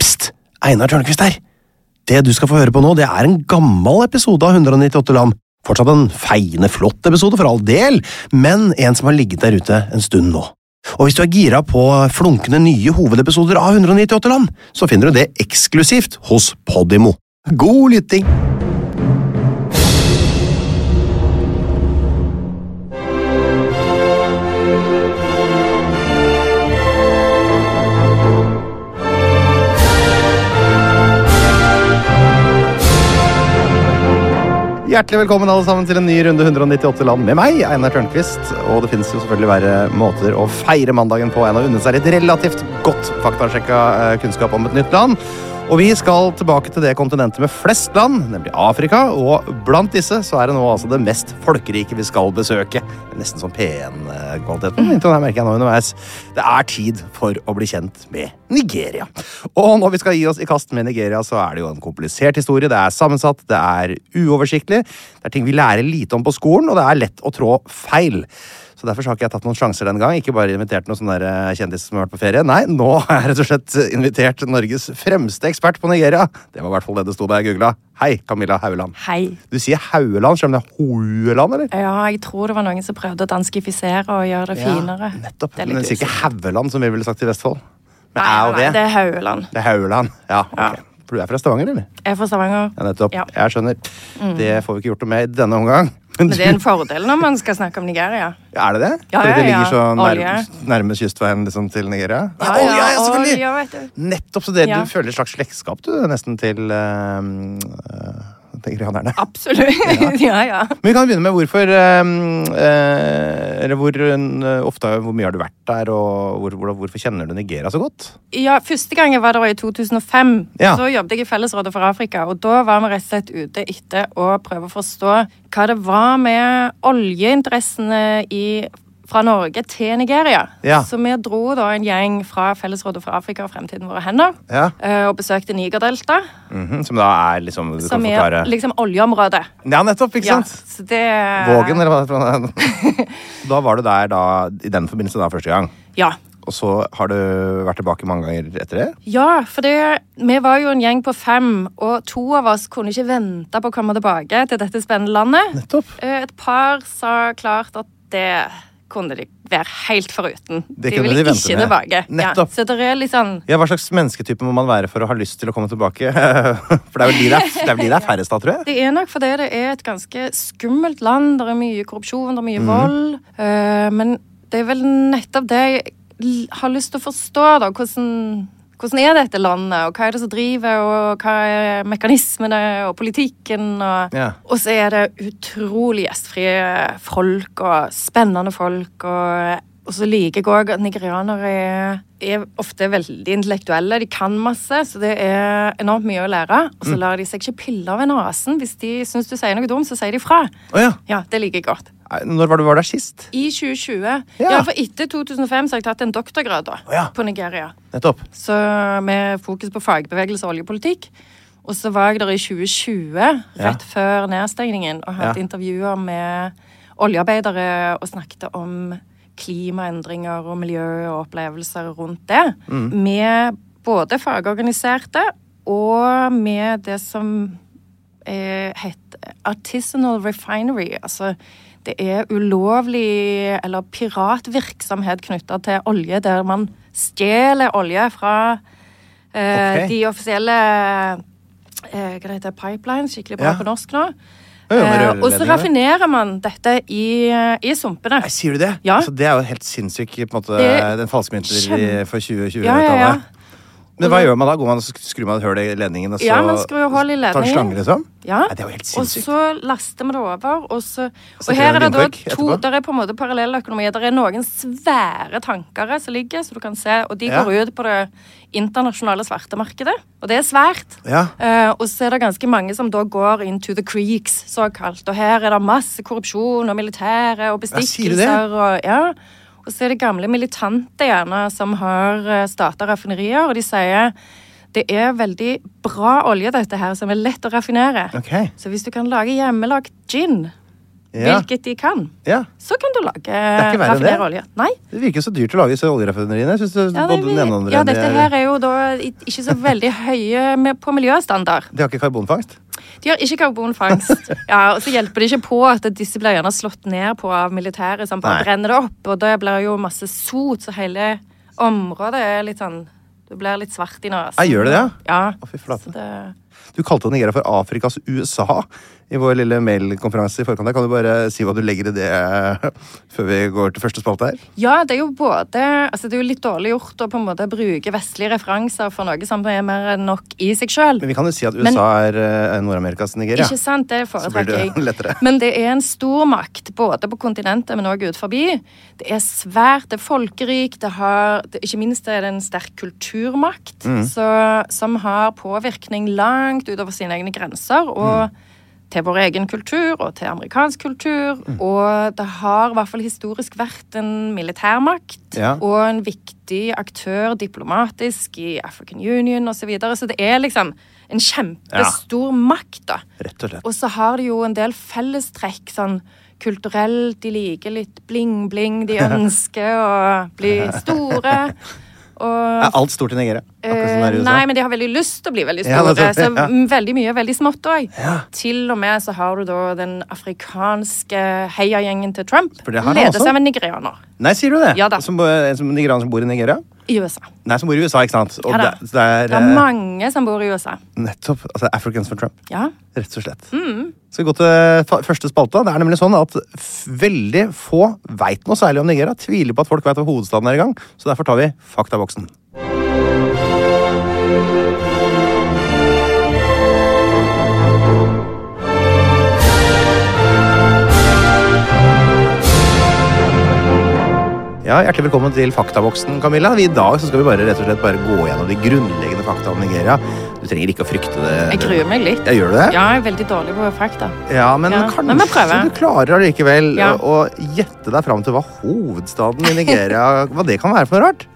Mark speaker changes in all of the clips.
Speaker 1: Pst! Einar Tørnquist her. Det du skal få høre på nå, det er en gammel episode av 198 land. Fortsatt en feiende flott episode, for all del, men en som har ligget der ute en stund nå. Og hvis du er gira på flunkende nye hovedepisoder av 198 land, så finner du det eksklusivt hos Podimo. God lytting! Hjertelig velkommen alle sammen til en ny runde 198 land med meg, Einar Tørnquist. Og det finnes jo selvfølgelig verre måter å feire mandagen på enn å unne seg litt relativt godt faktasjekka eh, kunnskap om et nytt land. Og vi skal tilbake til det kontinentet med flest land, nemlig Afrika. Og blant disse så er det nå altså det mest folkerike vi skal besøke. Nesten som P1-kvaliteten. Inntil det merker jeg nå underveis. Det er tid for å bli kjent med Nigeria. Og når vi skal gi oss i kast med Nigeria, så er det jo en komplisert historie. Det er sammensatt, det er uoversiktlig, det er ting vi lærer lite om på skolen, og det er lett å trå feil. Så Derfor så har ikke jeg tatt noen sjanser denne gang. Ikke bare invitert noen sånne der, eh, kjendiser som har vært på ferie. Nei, nå har jeg rett og slett invitert Norges fremste ekspert på Nigeria. Det var i hvert fall det det sto da jeg googla. Hei, Camilla Haueland.
Speaker 2: Hei.
Speaker 1: Du sier Haueland, selv om det er Hoeland, eller?
Speaker 2: Ja, jeg tror det var noen som prøvde å danskifisere og gjøre det finere.
Speaker 1: Nettopp.
Speaker 2: Det er
Speaker 1: Men
Speaker 2: litt
Speaker 1: den sier ikke
Speaker 2: usikkert.
Speaker 1: Haueland, som vi ville sagt i Vestfold. Men
Speaker 2: Nei,
Speaker 1: er jo
Speaker 2: nei,
Speaker 1: det.
Speaker 2: det er Hauland.
Speaker 1: Det er Haueland. Ja, ok. For du er fra Stavanger, eller?
Speaker 2: Jeg er fra Stavanger.
Speaker 1: Ja, nettopp.
Speaker 2: Ja. Mm.
Speaker 1: Jeg skjønner. Det får vi ikke gjort noe med i denne omgang. Men
Speaker 2: Men det er en fordel når man skal snakke om Nigeria.
Speaker 1: Er det det?
Speaker 2: Ja,
Speaker 1: Fordi det
Speaker 2: ja, ja.
Speaker 1: ligger så
Speaker 2: Olje.
Speaker 1: nærme, nærme kystveien liksom, til Nigeria? Olje, ja, selvfølgelig!
Speaker 2: Olja, vet du.
Speaker 1: Nettopp, så det,
Speaker 2: Ja.
Speaker 1: du føler et slags slektskap du, nesten til ehm, eh, nigerianerne.
Speaker 2: Absolutt. Ja. ja,
Speaker 1: Men vi kan begynne med hvorfor ehm, eh, Eller hvor eh, ofte, hvor mye har du vært der, og hvor, hvor, hvorfor kjenner du Nigeria så godt?
Speaker 2: Ja, Første gang jeg var der var i 2005.
Speaker 1: Ja.
Speaker 2: Så jobbet jeg i Fellesrådet for Afrika. og Da var vi rett og slett ute etter å prøve å forstå hva det var med oljeinteressene i, fra Norge til Nigeria.
Speaker 1: Ja.
Speaker 2: Så vi dro da en gjeng fra Fellesrådet for Afrika og Fremtiden våre hender
Speaker 1: Ja.
Speaker 2: eh, og besøkte Nigerdelta,
Speaker 1: Mhm, som da er liksom du
Speaker 2: som
Speaker 1: kan
Speaker 2: er
Speaker 1: forklare.
Speaker 2: liksom oljeområdet.
Speaker 1: Ja, nettopp, ikke
Speaker 2: Ja,
Speaker 1: sant?
Speaker 2: så det eh,
Speaker 1: Vågen, eller hva Da var du der da, i den forbindelse da, første gang.
Speaker 2: Ja.
Speaker 1: Og så har du vært tilbake mange ganger etter det?
Speaker 2: Ja, for det, vi var jo en gjeng på fem, og to av oss kunne ikke vente på å komme tilbake til dette spennende landet.
Speaker 1: Nettopp.
Speaker 2: Eh, Et par sa klart at det kunne de være helt foruten.
Speaker 1: Det
Speaker 2: de
Speaker 1: kunne
Speaker 2: ville
Speaker 1: de vente
Speaker 2: ikke
Speaker 1: med.
Speaker 2: tilbake. Ja,
Speaker 1: Nettopp.
Speaker 2: så det er litt sånn
Speaker 1: Ja, Hva slags mennesketype må man være for å ha lyst til å komme tilbake? For det er vel de det er, det er, vel de det er færrest av, tror jeg.
Speaker 2: Det er nok fordi det er et ganske skummelt land. Det er mye korrupsjon, det er
Speaker 1: Mhm.
Speaker 2: mye vold. Eh, men det er vel nettopp det jeg l- har lyst til å forstå, da. Hvordan, hvordan er dette landet, og hva er det som driver, og hva er mekanismene og politikken? Og,
Speaker 1: Ja.
Speaker 2: og så er det utrolig gjestfrie folk, og spennende folk. og... Og så liker jeg òg at nigerianere er, er ofte veldig intellektuelle. De kan masse, så det er enormt mye å lære. Og
Speaker 1: Mm.
Speaker 2: så lar de seg ikke pille av en rasen. Hvis de syns du sier noe dumt, så sier de fra.
Speaker 1: Å ja.
Speaker 2: Ja, det liker jeg godt.
Speaker 1: Eh, Når var du var der sist?
Speaker 2: I 2020.
Speaker 1: Ja.
Speaker 2: Ja. for etter 2005 så har jeg tatt en doktorgrad da,
Speaker 1: Å ja.
Speaker 2: på Nigeria.
Speaker 1: Nettopp.
Speaker 2: Så med fokus på fagbevegelse og oljepolitikk. Og så var jeg der i 2020,
Speaker 1: Ja.
Speaker 2: rett før nedstengningen, og hadde
Speaker 1: Ja.
Speaker 2: intervjuer med oljearbeidere og snakket om klimaendringer og miljø og opplevelser rundt det.
Speaker 1: Mm.
Speaker 2: Med både fagorganiserte og med det som eh, heter artisanal refinery. Altså det er ulovlig eller piratvirksomhet knytta til olje, der man stjeler olje fra eh,
Speaker 1: Ok.
Speaker 2: de offisielle eh, Hva det heter pipelines? Skikkelig bra
Speaker 1: Ja.
Speaker 2: på norsk nå.
Speaker 1: Ja, ja, med
Speaker 2: Eh,
Speaker 1: rørledningene.
Speaker 2: og så raffinerer man dette i, eh, i sumpene.
Speaker 1: Nei, sier du det?
Speaker 2: Ja.
Speaker 1: Så det er jo helt sinnssykt, på en måte,
Speaker 2: Det-
Speaker 1: den falske mynten i-
Speaker 2: Kjempe-
Speaker 1: for 2020-tallet.
Speaker 2: Ja, ja, ja.
Speaker 1: Men hva gjør man da? Går man og sk- Skrur man et hull i ledningen, og så
Speaker 2: Ja, man skrur hull i
Speaker 1: tar en
Speaker 2: ledningen.
Speaker 1: slange, liksom?
Speaker 2: Ja.
Speaker 1: Nei, det er jo helt
Speaker 2: og
Speaker 1: sinnssykt.
Speaker 2: så laster vi det over, og så Og
Speaker 1: Setter
Speaker 2: her er
Speaker 1: du en
Speaker 2: det da
Speaker 1: vindkork
Speaker 2: to
Speaker 1: etterpå?
Speaker 2: Der er på en måte parallelle økonomier. Der er noen svære tankere som ligger, så du kan se, og de
Speaker 1: Ja.
Speaker 2: går ut på det internasjonale svartemarkedet. Og det er svært.
Speaker 1: Ja.
Speaker 2: Eh, og så er det ganske mange som da går into the creeks, såkalt. Og her er det masse korrupsjon og militære og
Speaker 1: Ja, sier du det?
Speaker 2: bestikkelser og Ja. Og så er det gamle militante gjerne som har starta raffinerier, og de sier det er veldig bra olje, dette her, som er lett å raffinere.
Speaker 1: Ok.
Speaker 2: Så hvis du kan lage hjemmelagd gin,
Speaker 1: Ja.
Speaker 2: hvilket de kan,
Speaker 1: ja.
Speaker 2: så kan du lage
Speaker 1: ikke verre enn det.
Speaker 2: raffinere olje. Nei.
Speaker 1: Det virker så dyrt å lage disse oljeraffineriene. Jeg synes det,
Speaker 2: Ja, det,
Speaker 1: både den ene og den
Speaker 2: ja,
Speaker 1: andre
Speaker 2: dette her er jo da i- ikke så veldig høye med, på miljøstandard.
Speaker 1: De har ikke karbonfangst?
Speaker 2: De har ikke karbonfangst. Ja, og så hjelper det ikke på at disse blir gjerne slått ned på av militæret. Sånn,
Speaker 1: Nei.
Speaker 2: bare brenner det opp, og det blir jo masse sot, så hele området er litt sånn Det blir litt svart i nesen.
Speaker 1: Ja, gjør det det,
Speaker 2: Ja.
Speaker 1: Å, fy flate.
Speaker 2: Så det-
Speaker 1: Du kalte Nigeria for Afrikas USA i vår lille mailkonferanse i forkant. her. Kan du bare si hva du legger i det eh, før vi går til første spalte her?
Speaker 2: Ja, det er jo både altså Det er jo litt dårlig gjort å på en måte bruke vestlige referanser for noe som er mer enn nok i seg sjøl.
Speaker 1: Men vi kan jo si at USA
Speaker 2: Men-
Speaker 1: er eh, Nord-Amerikas Nigeria.
Speaker 2: Ikke sant? Det
Speaker 1: blir
Speaker 2: foretrekker
Speaker 1: det
Speaker 2: jeg.
Speaker 1: lettere.
Speaker 2: Men det er en stor makt, både på kontinentet, men òg ut forbi. Det er svært, det er folkerikt, det har det, Ikke minst er det en sterk kulturmakt
Speaker 1: Mm.
Speaker 2: så, som har påvirkning langt utover sine egne grenser.
Speaker 1: Mm.
Speaker 2: og Til vår egen kultur og til amerikansk kultur.
Speaker 1: Mm.
Speaker 2: Og det har i hvert fall historisk vært en militærmakt
Speaker 1: Ja.
Speaker 2: og en viktig aktør diplomatisk i African Union osv. Så, videre. så det er liksom en kjempestor makt, da.
Speaker 1: Rett og slett.
Speaker 2: Og så har de jo en del fellestrekk, sånn kulturelt. De liker litt bling-bling. De ønsker å bli store. Og
Speaker 1: Er alt stort i Nigeria? Akkurat som det er i
Speaker 2: Eh,
Speaker 1: USA?
Speaker 2: Nei, men de har veldig lyst til å bli veldig
Speaker 1: Ja,
Speaker 2: store.
Speaker 1: det er
Speaker 2: så
Speaker 1: sant, ja.
Speaker 2: mm, veldig mye er veldig smått òg. Til og med så har du da den afrikanske heiagjengen til Trump.
Speaker 1: For det har han
Speaker 2: Ledes
Speaker 1: også.
Speaker 2: av en nigerianer
Speaker 1: Nei, sier du det?
Speaker 2: Ja da.
Speaker 1: Som, eh, som nigerianer som bor i Nigeria?
Speaker 2: i USA.
Speaker 1: Nei, som bor i USA, ikke sant? Og
Speaker 2: Ja da.
Speaker 1: det, det er,
Speaker 2: Det er
Speaker 1: eh,
Speaker 2: mange som bor i USA.
Speaker 1: Nettopp. Altså Africans for Trump.
Speaker 2: Ja.
Speaker 1: Rett og slett.
Speaker 2: Mm.
Speaker 1: Skal vi gå til eh, fa- første spalte? Det er nemlig sånn at f- veldig få veit noe særlig om Nigeria. Tviler på at folk veit hva hovedstaden er i gang, så derfor tar vi faktaboksen. Ja, Hjertelig velkommen til Faktaboksen, Camilla. Vi I dag så skal vi bare rett og slett bare gå gjennom de grunnleggende fakta om Nigeria. Du trenger ikke å frykte det.
Speaker 2: Jeg gruer meg litt.
Speaker 1: Ja, gjør du det?
Speaker 2: Ja, jeg er veldig dårlig på fakta.
Speaker 1: Ja, men
Speaker 2: Ja,
Speaker 1: kanskje
Speaker 2: men vi prøver.
Speaker 1: du klarer allikevel
Speaker 2: Ja.
Speaker 1: å gjette deg fram til hva hovedstaden i Nigeria Hva det kan være for noe rart?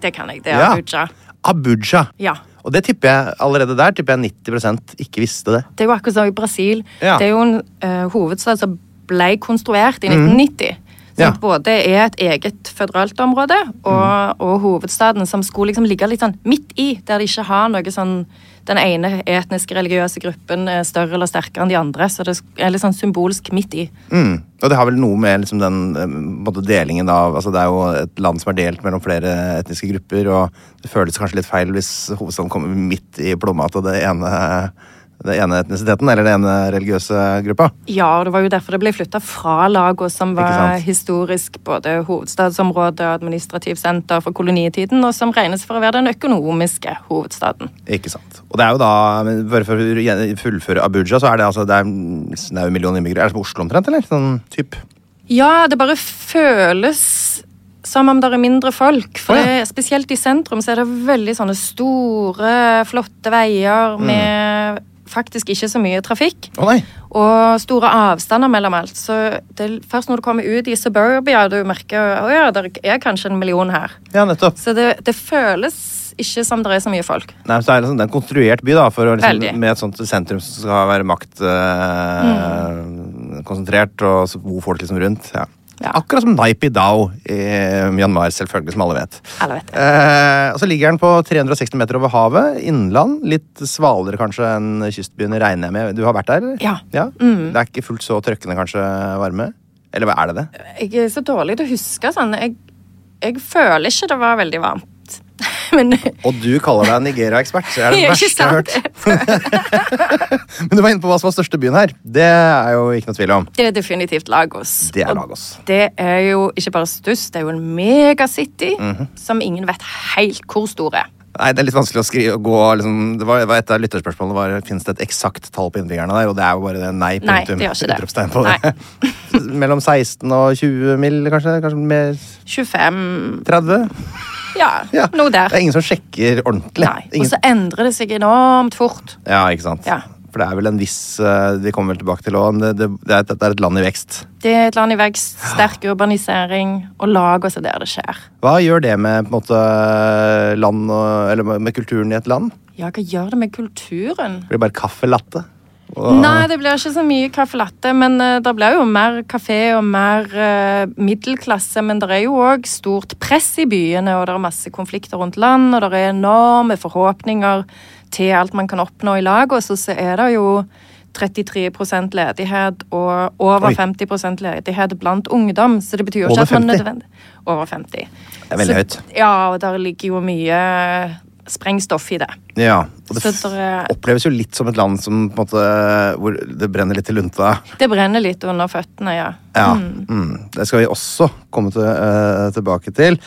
Speaker 2: Det kan jeg. Det er
Speaker 1: Ja.
Speaker 2: Abuja.
Speaker 1: Abuja.
Speaker 2: Ja.
Speaker 1: Og det tipper jeg allerede der tipper jeg 90 ikke visste det.
Speaker 2: Det er jo akkurat som i Brasil.
Speaker 1: Ja.
Speaker 2: Det er jo en eh, hovedstad som ble konstruert i 1990.
Speaker 1: Mhm.
Speaker 2: Som
Speaker 1: Ja.
Speaker 2: både er et eget føderalt område,
Speaker 1: Mhm.
Speaker 2: og, og hovedstaden som skulle liksom ligge litt sånn midt i, der de ikke har noe sånn Den ene etniske, religiøse gruppen er større eller sterkere enn de andre, så det er litt sånn symbolsk midt i.
Speaker 1: Mm. Og det har vel noe med liksom, den eh, måte, delingen av altså, Det er jo et land som er delt mellom flere etniske grupper, og det føles kanskje litt feil hvis hovedstaden kommer midt i plomma til det ene, det ene etnisiteten, eller den ene religiøse gruppa.
Speaker 2: Ja, og det var jo derfor det ble flytta fra Lagos, som var
Speaker 1: sant?
Speaker 2: historisk både hovedstadsområde og administrativt senter for kolonitiden, og som regnes for å være den økonomiske hovedstaden.
Speaker 1: Ikke sant. Og det er jo da, men bare for å gjen- fullføre Abuja, så er det altså det er en snau million innbyggere. Er det som Oslo omtrent, eller? Sånn typ.
Speaker 2: Ja, det bare føles som om det er mindre folk. For
Speaker 1: Å, ja.
Speaker 2: det,
Speaker 1: Mm.
Speaker 2: spesielt i sentrum så er det veldig sånne store, flotte veier med faktisk ikke så mye trafikk.
Speaker 1: Å nei!
Speaker 2: Og store avstander mellom alt. Så det er først når du kommer ut i suburbia, du merker at ja, det er kanskje en million her.
Speaker 1: Ja, nettopp.
Speaker 2: Så det, det føles ikke som det er så mye folk.
Speaker 1: Nei, så er det, liksom, det er en konstruert by, da, for å,
Speaker 2: Veldig.
Speaker 1: liksom, med et sånt sentrum som skal være makt eh, konsentrert, og så bor folk liksom rundt. Ja.
Speaker 2: Mm. Ja.
Speaker 1: Akkurat som Naipi Dao i Myanmar, selvfølgelig, som alle vet.
Speaker 2: Alle vet det.
Speaker 1: Eh, og så ligger den på 360 meter over havet, innland. Litt svalere kanskje enn kystbyene, regner jeg med. Du har vært der? eller?
Speaker 2: Ja. Mm.
Speaker 1: Det er ikke fullt så trøkkende kanskje varme? Eller hva er det det?
Speaker 2: Jeg er så dårlig til å huske sånn. Jeg, jeg føler ikke det var veldig varmt. Men
Speaker 1: Og du kaller deg Nigeria-ekspert. så Det er det
Speaker 2: Jeg er ikke
Speaker 1: verste jeg har hørt. Men du var inne på hva som var største byen her. Det er jo ikke noe tvil om.
Speaker 2: det er definitivt Lagos.
Speaker 1: Det er
Speaker 2: Og
Speaker 1: Lagos.
Speaker 2: Det er jo ikke bare størst, det er jo en megacity
Speaker 1: Mhm.
Speaker 2: som ingen vet helt hvor stor er.
Speaker 1: Nei, Det er litt vanskelig å skrive og gå liksom, det var, det var Et av lytterspørsmålene var Fins det et eksakt tall på innbyggerne der, og det er jo bare det nei,
Speaker 2: Nei,
Speaker 1: punktum.
Speaker 2: det gjør ikke det.
Speaker 1: utropstegn på det. Mellom 16 og 20 mil, kanskje? Kanskje mer
Speaker 2: 25
Speaker 1: 30?
Speaker 2: Ja,
Speaker 1: Ja.
Speaker 2: noe der.
Speaker 1: Det er ingen som sjekker ordentlig.
Speaker 2: Nei. Og
Speaker 1: Ingen-
Speaker 2: så endrer det seg enormt fort.
Speaker 1: Ja, ikke sant?
Speaker 2: Ja.
Speaker 1: For det er vel en viss eh, Vi kommer vel tilbake til òg, men det, det, det, er et- det er et land i vekst.
Speaker 2: Det er et land i vekst, sterk urbanisering, og lag også der det skjer.
Speaker 1: Hva gjør det med på en måte, land og, eller med med kulturen i et land?
Speaker 2: Ja, hva gjør det med kulturen?
Speaker 1: Blir det bare kaffe latte?
Speaker 2: Nei, det blir ikke så mye caffè latte, men eh, det blir jo mer kafé og mer eh, middelklasse. Men det er jo òg stort press i byene, og det er masse konflikter rundt land, og det er enorme forhåpninger til alt man kan oppnå i lag. Og så, så er det jo 33 ledighet og over
Speaker 1: Oi.
Speaker 2: 50 ledighet blant ungdom, så det betyr jo
Speaker 1: Over
Speaker 2: ikke at man
Speaker 1: 50?
Speaker 2: nødvendig Over 50.
Speaker 1: Det er veldig
Speaker 2: Så-
Speaker 1: høyt.
Speaker 2: Ja, og der ligger jo mye sprengstoff i det.
Speaker 1: Ja. Og det
Speaker 2: Så dere-
Speaker 1: oppleves jo litt som et land som, på en måte, hvor det brenner litt i lunta.
Speaker 2: Det brenner litt under føttene, ja.
Speaker 1: Ja, mm. Det skal vi også komme til, eh, tilbake til.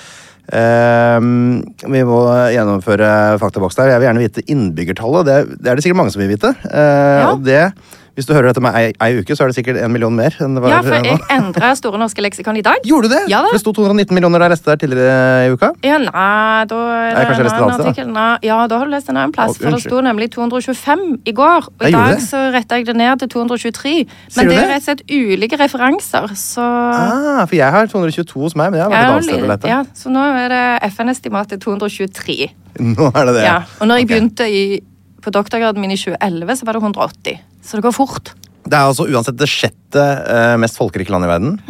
Speaker 1: Ehm, vi må gjennomføre faktaboks der. Jeg vil gjerne vite innbyggertallet. Det, det er det sikkert mange som vil vite. Eh,
Speaker 2: Ja.
Speaker 1: Og det, hvis du hører dette med ei, ei uke, så er det sikkert en million mer. enn det var
Speaker 2: Ja, for
Speaker 1: eh, nå.
Speaker 2: jeg endra Store norske leksikon i dag.
Speaker 1: Gjorde du det?
Speaker 2: Ja da.
Speaker 1: For det sto 219 millioner der jeg leste der tidligere eh, i uka.
Speaker 2: Ja, nei, da er
Speaker 1: Nei,
Speaker 2: det
Speaker 1: kanskje jeg
Speaker 2: en
Speaker 1: leste
Speaker 2: annen
Speaker 1: det altså.
Speaker 2: artikkel. Nei, ja, da har du lest en annen plass,
Speaker 1: Å,
Speaker 2: for det
Speaker 1: unnskyld.
Speaker 2: sto nemlig 225 i går. Og
Speaker 1: Jeg
Speaker 2: i
Speaker 1: gjorde
Speaker 2: dag
Speaker 1: det.
Speaker 2: så retta jeg det ned til 223.
Speaker 1: du
Speaker 2: Men det
Speaker 1: det?
Speaker 2: er rett og slett ulike referanser, så
Speaker 1: Ah, for jeg har 222 hos meg, men jeg har vært et
Speaker 2: Ja,
Speaker 1: annet sted å lete.
Speaker 2: ja, så nå er det FN-estimatet 223.
Speaker 1: Nå er det det.
Speaker 2: Ja. Og når jeg
Speaker 1: Ok.
Speaker 2: begynte i, på doktorgraden min i 2011, så var det 180. Så det går fort.
Speaker 1: Det er altså uansett det sjette eh, mest folkerike landet i verden.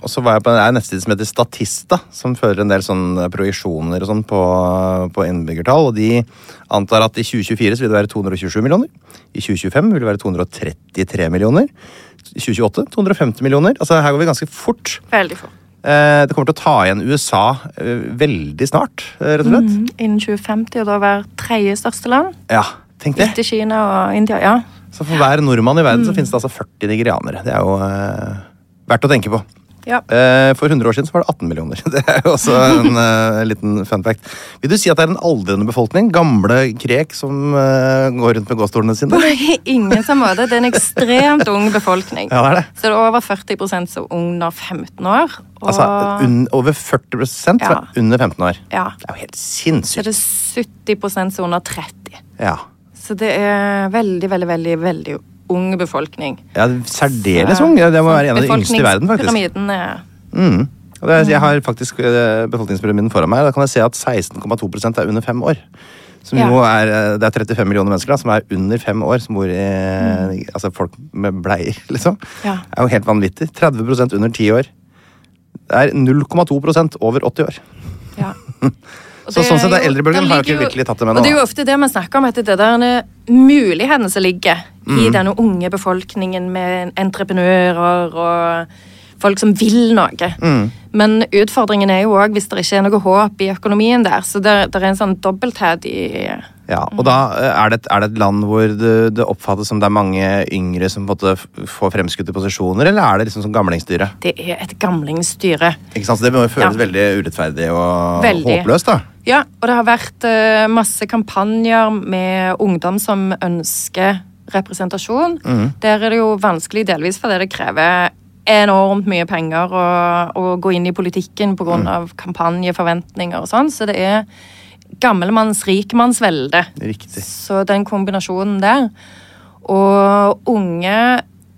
Speaker 1: Og så var jeg på en, det er en nettside som heter Statista, som fører en del sånn projeksjoner og sånn på, på innbyggertall. Og de antar at i 2024 så vil det være 227 millioner. I 2025 vil det være 233 millioner. I 2028 250 millioner. Altså her går vi ganske fort.
Speaker 2: Veldig fort.
Speaker 1: Eh, det kommer til å ta igjen USA eh, veldig snart, eh, rett og slett.
Speaker 2: Innen 2050 og da være tredje største land.
Speaker 1: Ja, tenk det.
Speaker 2: Etter Kina og India. Ja.
Speaker 1: Så for hver nordmann i verden så finnes det altså 40 nigerianere. Det er jo eh, verdt å tenke på.
Speaker 2: ja.
Speaker 1: Eh, For 100 år siden så var det 18 millioner. Det er jo også en eh, liten fun fact. Vil du si at det er en aldrende befolkning? Gamle krek som eh, går rundt med gåstolene sine?
Speaker 2: På ingen som måte. Det er en ekstremt ung befolkning.
Speaker 1: Ja, det er det.
Speaker 2: Så det er over 40 som er under 15 år. Og
Speaker 1: Altså, un Over 40 som
Speaker 2: Ja.
Speaker 1: er under 15 år.
Speaker 2: Ja.
Speaker 1: Det er jo helt
Speaker 2: så er
Speaker 1: sinnssykt.
Speaker 2: det 70 som er under 30.
Speaker 1: Ja.
Speaker 2: Så det er veldig, veldig, veldig, veldig ung befolkning.
Speaker 1: ja, Særdeles ung. Ja, Det må være en av de yngste i verden, faktisk.
Speaker 2: Befolkningspyramiden er
Speaker 1: Mm. Og det,
Speaker 2: Mm.
Speaker 1: er- jeg har faktisk eh, befolkningspyramiden foran meg. Da kan jeg se at 16,2 er under fem år. Som
Speaker 2: Ja.
Speaker 1: jo er, eh, det er 35 millioner mennesker da, som er under fem år, som bor i altså folk med bleier, liksom.
Speaker 2: Mm. Ja.
Speaker 1: Det er jo helt vanvittig. 30 under ti år. Det er 0,2 over 80 år.
Speaker 2: Ja. Og
Speaker 1: Så
Speaker 2: det
Speaker 1: sånn sett
Speaker 2: er
Speaker 1: er
Speaker 2: jo-
Speaker 1: eldrebølgen
Speaker 2: det
Speaker 1: har jo ikke
Speaker 2: ligger
Speaker 1: virkelig tatt det med
Speaker 2: Og
Speaker 1: nå,
Speaker 2: det er jo
Speaker 1: da.
Speaker 2: ofte det man snakker om, at det der er muligheten som ligger
Speaker 1: Mm.
Speaker 2: i denne unge befolkningen med entreprenører og folk som vil noe.
Speaker 1: Mm.
Speaker 2: Men utfordringen er jo òg hvis det ikke er noe håp i økonomien der. Så det, det er en sånn dobbelthet i
Speaker 1: Ja,
Speaker 2: Mm.
Speaker 1: og da eh, er det, et- er det et land hvor det, det oppfattes som det er mange yngre som på en måte f- får fremskutte posisjoner, eller er det liksom som gamlingsdyre?
Speaker 2: Det er et gamlingsstyre.
Speaker 1: Ikke sant? Så det må jo føles
Speaker 2: Ja.
Speaker 1: veldig urettferdig og
Speaker 2: Veldig.
Speaker 1: håpløst, da.
Speaker 2: Ja, og det har vært eh, masse kampanjer med ungdom som ønsker representasjon. Der er det jo vanskelig delvis fordi det krever enormt mye penger å, å gå inn i politikken pga. av kampanjeforventninger og sånn, så det er gammelmanns-rikmannsvelde.
Speaker 1: Riktig.
Speaker 2: Så den kombinasjonen der. Og unge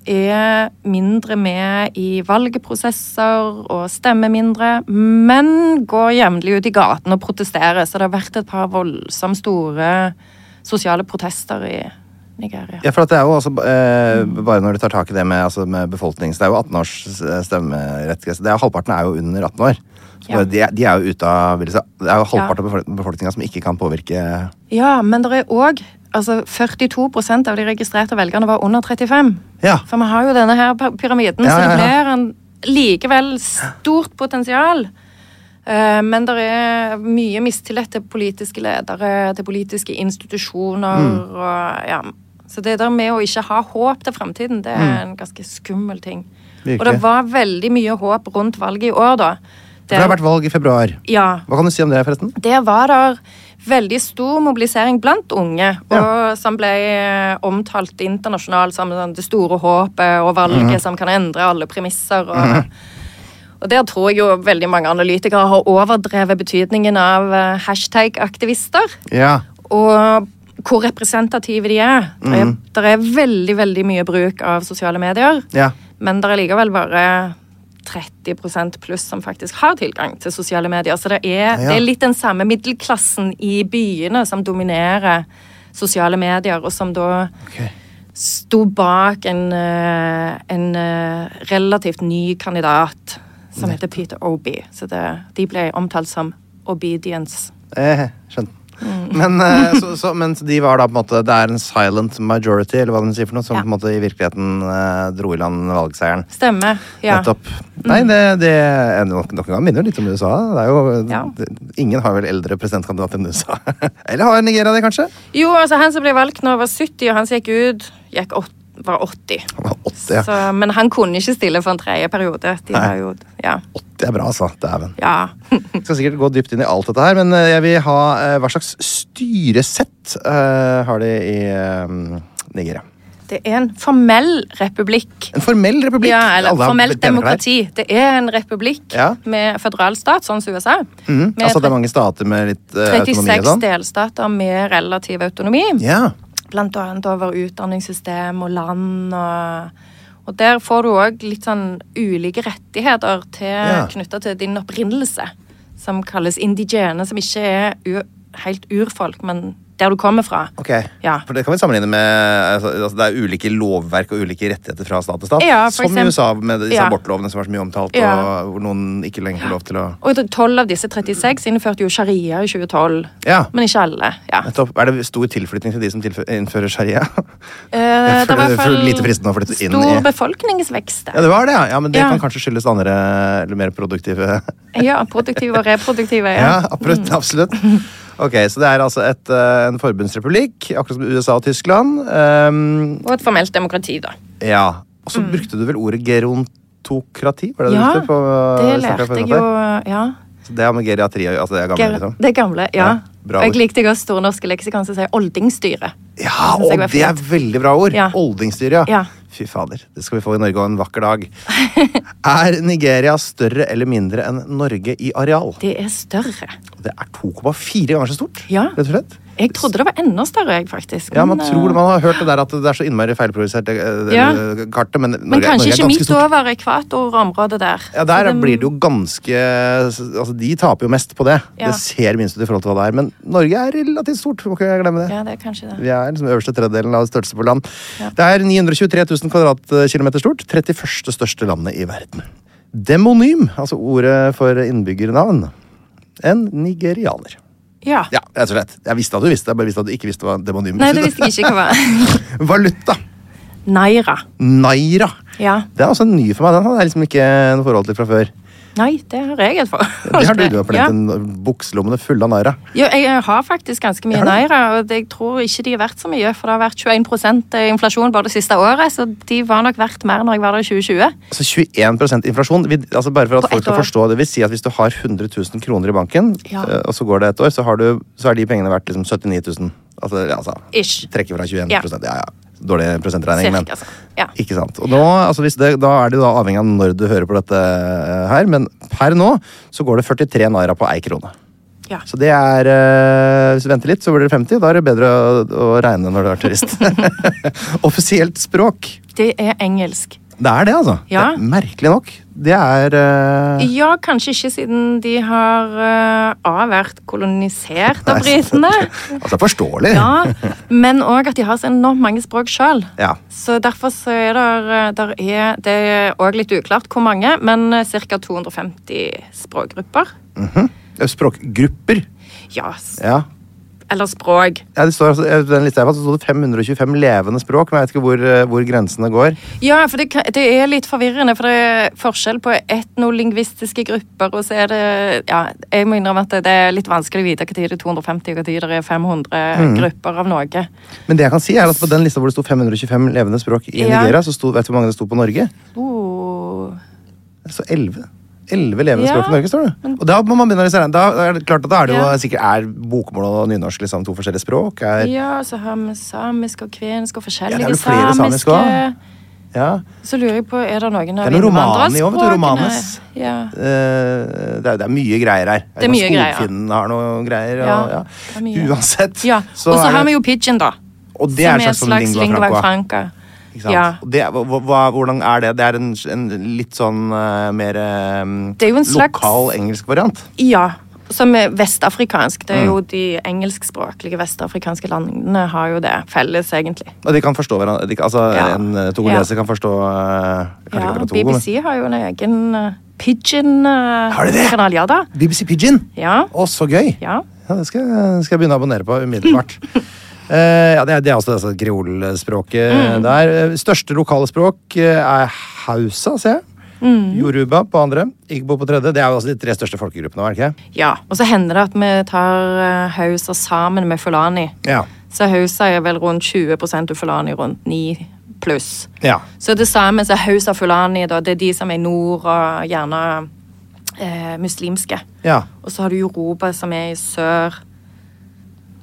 Speaker 2: er mindre med i valgprosesser og stemmer mindre, men går jevnlig ut i gaten og protesterer. Så det har vært et par voldsomt store sosiale protester i Nigeria.
Speaker 1: Ja, for at det er jo også, eh, Bare når du tar tak i det med, altså med befolknings... Det er jo 18-års s- stemmerett. Det er, halvparten er jo under 18 år. Så
Speaker 2: Ja.
Speaker 1: de, er- de er jo ute av vil jeg si, Det er jo halvparten
Speaker 2: Ja.
Speaker 1: av befolkninga som ikke kan påvirke
Speaker 2: Ja, men det er òg altså 42 av de registrerte velgerne var under 35.
Speaker 1: Ja.
Speaker 2: For vi har jo denne her py- pyramiden,
Speaker 1: Ja,
Speaker 2: så
Speaker 1: ja, ja.
Speaker 2: det blir en likevel stort potensial. Eh, Men det er mye mistillit til politiske ledere, til politiske institusjoner
Speaker 1: Mm.
Speaker 2: og ja. Så det der med å ikke ha håp til fremtiden, det er en ganske skummel ting. Og
Speaker 1: Mm.
Speaker 2: det
Speaker 1: Virkelig.
Speaker 2: var veldig mye håp rundt valget i år, da.
Speaker 1: For det har vært valg i februar.
Speaker 2: Ja.
Speaker 1: Hva kan du si om det, forresten?
Speaker 2: Der var det veldig stor mobilisering blant unge, og
Speaker 1: Ja.
Speaker 2: som ble eh, omtalt internasjonalt som sånn det store håpet og valget som kan endre alle premisser. Og, og der tror jeg jo veldig mange analytikere har overdrevet betydningen av eh, hashtag-aktivister.
Speaker 1: Ja.
Speaker 2: Og hvor representative de er. Det er, der er veldig, veldig mye bruk av sosiale medier.
Speaker 1: Ja.
Speaker 2: Men det er likevel bare 30 pluss som faktisk har tilgang til sosiale medier. Så det er, det er litt den samme middelklassen i byene som dominerer sosiale medier, og som da sto bak en, eh, en eh, relativt ny kandidat som heter Peter Obi. Så det, de ble omtalt som obedience.
Speaker 1: Eh, skjønt.
Speaker 2: Mm.
Speaker 1: Men, eh, så, så, men de var da på en måte Det er en silent majority, eller hva de sier for noe, som
Speaker 2: Ja.
Speaker 1: på en måte i virkeligheten eh, dro i land valgseieren.
Speaker 2: Stemmer. Ja. Mm.
Speaker 1: Nettopp. Nei, det, det er nok, nok en gang minner jo litt om USA. Det er jo,
Speaker 2: Ja.
Speaker 1: det, ingen har vel eldre presidentkandidat enn USA. Eller har Nigeria det, kanskje?
Speaker 2: Jo, altså han som ble valgt nå var 70, og han som gikk ut, gikk åt, var 80.
Speaker 1: Han var 80, ja.
Speaker 2: Så, men han kunne ikke stille for en tredje periode. De har jo, ja.
Speaker 1: 80 er bra, altså. Dæven.
Speaker 2: ja.
Speaker 1: Vi skal sikkert gå dypt inn i alt dette her, men eh, jeg vil ha eh, hva slags styresett eh, har de i eh, Nigeria?
Speaker 2: Det er en formell republikk.
Speaker 1: En formell republikk?
Speaker 2: Ja, eller
Speaker 1: Alle har
Speaker 2: formelt
Speaker 1: penneklær.
Speaker 2: demokrati. Det er en republikk
Speaker 1: Ja.
Speaker 2: med føderalstat, sånn som USA.
Speaker 1: Mm,
Speaker 2: Med
Speaker 1: altså det er mange stater med litt eh, autonomi og
Speaker 2: 36
Speaker 1: sånn?
Speaker 2: delstater med relativ autonomi.
Speaker 1: Ja.
Speaker 2: Blant annet over utdanningssystem og land og og der får du òg litt sånn ulike rettigheter til,
Speaker 1: Ja.
Speaker 2: knytta til din opprinnelse, som kalles indigene, som ikke er u helt urfolk, men der du kommer fra.
Speaker 1: Ok.
Speaker 2: Ja.
Speaker 1: For det kan vi sammenligne med altså, altså, Det er ulike lovverk og ulike rettigheter fra stat til stat.
Speaker 2: Ja, for
Speaker 1: som
Speaker 2: eksempel-
Speaker 1: i USA med disse
Speaker 2: Ja.
Speaker 1: abortlovene som var så mye omtalt,
Speaker 2: Ja.
Speaker 1: og hvor noen ikke lenger får lov til å
Speaker 2: Og tolv av disse 36 innførte jo sharia i 2012.
Speaker 1: Ja.
Speaker 2: Men ikke alle. ja.
Speaker 1: Nettopp. Er det stor tilflytting til de som tilfø- innfører sharia?
Speaker 2: Eh,
Speaker 1: For-
Speaker 2: det var i hvert
Speaker 1: for
Speaker 2: fall
Speaker 1: lite fristende å flytte inn
Speaker 2: Stor
Speaker 1: i-
Speaker 2: befolkningsvekst.
Speaker 1: Ja,
Speaker 2: der.
Speaker 1: det var det, ja. ja men det
Speaker 2: Ja.
Speaker 1: kan kanskje skyldes andre eller mer produktive
Speaker 2: Ja, produktive og reproduktive.
Speaker 1: Ja,
Speaker 2: Ja. Mm.
Speaker 1: absolutt. absolutt. Ok, Så det er altså et, eh, en forbundsrepublikk, akkurat som USA og Tyskland. Ehm,
Speaker 2: Og et formelt demokrati, da.
Speaker 1: Ja. Og så brukte du vel ordet gerontokrati? Var det
Speaker 2: Mm. Ja,
Speaker 1: det du brukte? På, snakket
Speaker 2: det lærte jeg
Speaker 1: forrige
Speaker 2: jo.
Speaker 1: sted?
Speaker 2: ja.
Speaker 1: Så det har med geriatri å gjøre? Altså det er gammel,
Speaker 2: Ger-
Speaker 1: liksom?
Speaker 2: Det gamle, ja.
Speaker 1: Ja, bra
Speaker 2: og jeg
Speaker 1: ord.
Speaker 2: likte godt Store norske leksikon som sier oldingstyre.
Speaker 1: Ja,
Speaker 2: Det synes
Speaker 1: og
Speaker 2: jeg var
Speaker 1: det er
Speaker 2: fint.
Speaker 1: veldig bra ord!
Speaker 2: Ja.
Speaker 1: Oldingstyret, ja.
Speaker 2: Ja.
Speaker 1: Fy fader, det skal vi få i Norge en vakker dag. er Nigeria større eller mindre enn Norge i areal?
Speaker 2: Det er større.
Speaker 1: Det er 2,4 ganger så stort,
Speaker 2: Ja.
Speaker 1: rett og slett.
Speaker 2: Jeg trodde det var enda større, jeg, faktisk.
Speaker 1: Ja, man
Speaker 2: Men,
Speaker 1: tror det,
Speaker 2: eh,
Speaker 1: man har hørt det der at det er så innmari feilprodusert eh,
Speaker 2: Ja.
Speaker 1: eh, kartet, men Norge,
Speaker 2: men
Speaker 1: Norge er
Speaker 2: kanskje ikke
Speaker 1: ganske
Speaker 2: midt
Speaker 1: stort.
Speaker 2: over ekvatorområdet der.
Speaker 1: Ja,
Speaker 2: Så
Speaker 1: der
Speaker 2: det-
Speaker 1: blir det jo ganske Altså, de taper jo mest på det.
Speaker 2: Ja.
Speaker 1: Det ser minst ut i forhold til hva det er, men Norge er relativt stort, må ikke glemme det.
Speaker 2: Ja, det er kanskje det.
Speaker 1: Vi er liksom øverste tredjedelen av størrelse på land. Det er 923 000 kvadratkilometer stort. 31. største landet i verden. Demonym, altså ordet for innbyggernavn. En nigerianer.
Speaker 2: Ja.
Speaker 1: Ja, rett og slett. Jeg visste at du visste, jeg bare visste at du ikke visste hva demonym
Speaker 2: Nei, det visste jeg ikke hva var.
Speaker 1: Valuta.
Speaker 2: Naira.
Speaker 1: Naira.
Speaker 2: Ja.
Speaker 1: Det er også ny for meg. Den hadde jeg liksom ikke noe forhold til fra før.
Speaker 2: Nei, det har jeg et forhold
Speaker 1: Det har du,
Speaker 2: til.
Speaker 1: du har
Speaker 2: Ja.
Speaker 1: plenty bukselommene fulle av naira.
Speaker 2: Ja, jeg har faktisk ganske mye naira, og jeg tror ikke de er verdt så mye. For det har vært 21 inflasjon bare det siste året, så de var nok verdt mer når jeg var der i 2020.
Speaker 1: Altså 21 inflasjon. Vi, altså bare for at
Speaker 2: På
Speaker 1: folk
Speaker 2: ett
Speaker 1: skal
Speaker 2: år.
Speaker 1: forstå det, vil si at Hvis du har 100 000 kroner i banken,
Speaker 2: Ja.
Speaker 1: eh, og så går det et år, så, har du, så er de pengene verdt liksom 79 000. Altså, ja, altså
Speaker 2: Ish.
Speaker 1: Trekke fra 21
Speaker 2: Ja.
Speaker 1: ja, ja. Dårlig prosentregning, men
Speaker 2: Cirka, altså. Ja.
Speaker 1: Ikke sant. Og nå, altså hvis det, da er det da avhengig av når du hører på dette eh, her, men per nå så går det 43 naira på ei krone.
Speaker 2: Ja.
Speaker 1: Så det er eh, Hvis du venter litt, så blir det 50. Da er det bedre å, å regne når du er turist. Offisielt språk.
Speaker 2: Det er engelsk.
Speaker 1: Det er det, altså.
Speaker 2: Ja.
Speaker 1: Det er, merkelig nok. Det er eh,
Speaker 2: Ja, kanskje ikke siden de har eh, A vært kolonisert av britene.
Speaker 1: Altså, forståelig.
Speaker 2: Ja, men òg at de har så enormt mange språk sjøl.
Speaker 1: Ja.
Speaker 2: Så derfor så er der, der er, det er òg litt uklart hvor mange, men eh, ca. 250 språkgrupper.
Speaker 1: Språkgrupper.
Speaker 2: Ja, s-
Speaker 1: Ja.
Speaker 2: eller språk.
Speaker 1: Ja, det står, altså- i den lista jeg fant, så sto det 525 levende språk, men jeg vet ikke hvor, eh, hvor grensene går.
Speaker 2: Ja, for det, kan- det er litt forvirrende, for det er forskjell på etnolingvistiske grupper, og så er det Ja, jeg må innrømme at det det er litt vanskelig å vite når det er 250, og når det er 500 grupper av noe.
Speaker 1: Men det jeg kan si er at på den lista hvor det sto 525 levende språk i
Speaker 2: Ja.
Speaker 1: Nigeria, så sto, vet du hvor mange det sto på Norge?
Speaker 2: Oh.
Speaker 1: Så 11. 11 levende
Speaker 2: Ja.
Speaker 1: språk i Norge, står det. Og da må man begynne å regne. Da er det klart at da er det jo
Speaker 2: Ja.
Speaker 1: sikkert er bokmål og nynorsk liksom, to forskjellige språk. Er, ja.
Speaker 2: Ja, så har vi samisk og kvensk og
Speaker 1: Ja,
Speaker 2: forskjellige
Speaker 1: det er vel flere
Speaker 2: samiske
Speaker 1: samisk også.
Speaker 2: Så lurer jeg på, er det noen
Speaker 1: Det
Speaker 2: av
Speaker 1: er noe romani
Speaker 2: innvandrerspråkene?
Speaker 1: også, vet du, romanes.
Speaker 2: Ja.
Speaker 1: Eh, det, er, det er mye greier her.
Speaker 2: Det er mye greier.
Speaker 1: Skogfinnen har noe greier.
Speaker 2: Ja,
Speaker 1: Og, ja.
Speaker 2: det er mye.
Speaker 1: Uansett.
Speaker 2: ja. Og så
Speaker 1: er
Speaker 2: har
Speaker 1: det-
Speaker 2: vi jo pidgin, da.
Speaker 1: og det er sånn
Speaker 2: som er
Speaker 1: en
Speaker 2: et slags lingua franca.
Speaker 1: Ikke sant?
Speaker 2: Ja.
Speaker 1: Og Det, hva, hva, hvordan er det? Det er en, en litt sånn eh, mer eh,
Speaker 2: Det er jo en slags-
Speaker 1: lokal engelsk variant.
Speaker 2: ja. Som er vestafrikansk. Det er
Speaker 1: Mm.
Speaker 2: jo De engelskspråklige vestafrikanske landene har jo det felles, egentlig.
Speaker 1: Og de kan forstå hverandre. De, kan- altså,
Speaker 2: Ja.
Speaker 1: En eh, togoleser
Speaker 2: Ja.
Speaker 1: kan forstå eh, kanskje
Speaker 2: Ja,
Speaker 1: ikke akkurat Togo, men-
Speaker 2: BBC har jo en egen eh,
Speaker 1: Har de det?
Speaker 2: pidgin-kanal. Ja da.
Speaker 1: BBC Pigeon!
Speaker 2: Ja.
Speaker 1: Å, så gøy!
Speaker 2: Ja.
Speaker 1: Ja, det skal, jeg- skal jeg begynne å abonnere på umiddelbart. Eh, ja, det, er- det er også det altså, kreolspråket
Speaker 2: Mm.
Speaker 1: der. Eh, Største lokale språk eh, er hausa, ser jeg.
Speaker 2: Mm.
Speaker 1: Yoruba på andre, igbo på tredje. Det er jo altså de tre største folkegruppene. er det ikke?
Speaker 2: ja. Og så hender det at vi tar eh, Hausa sammen med Fulani.
Speaker 1: Ja.
Speaker 2: Så Hausa er vel rundt 20 og Fulani rundt 9 pluss.
Speaker 1: ja.
Speaker 2: Så det samme så Hausa og Fulani, da, det er de som er i nord og gjerne eh, muslimske.
Speaker 1: Ja.
Speaker 2: Og så har du Yoruba som er i sør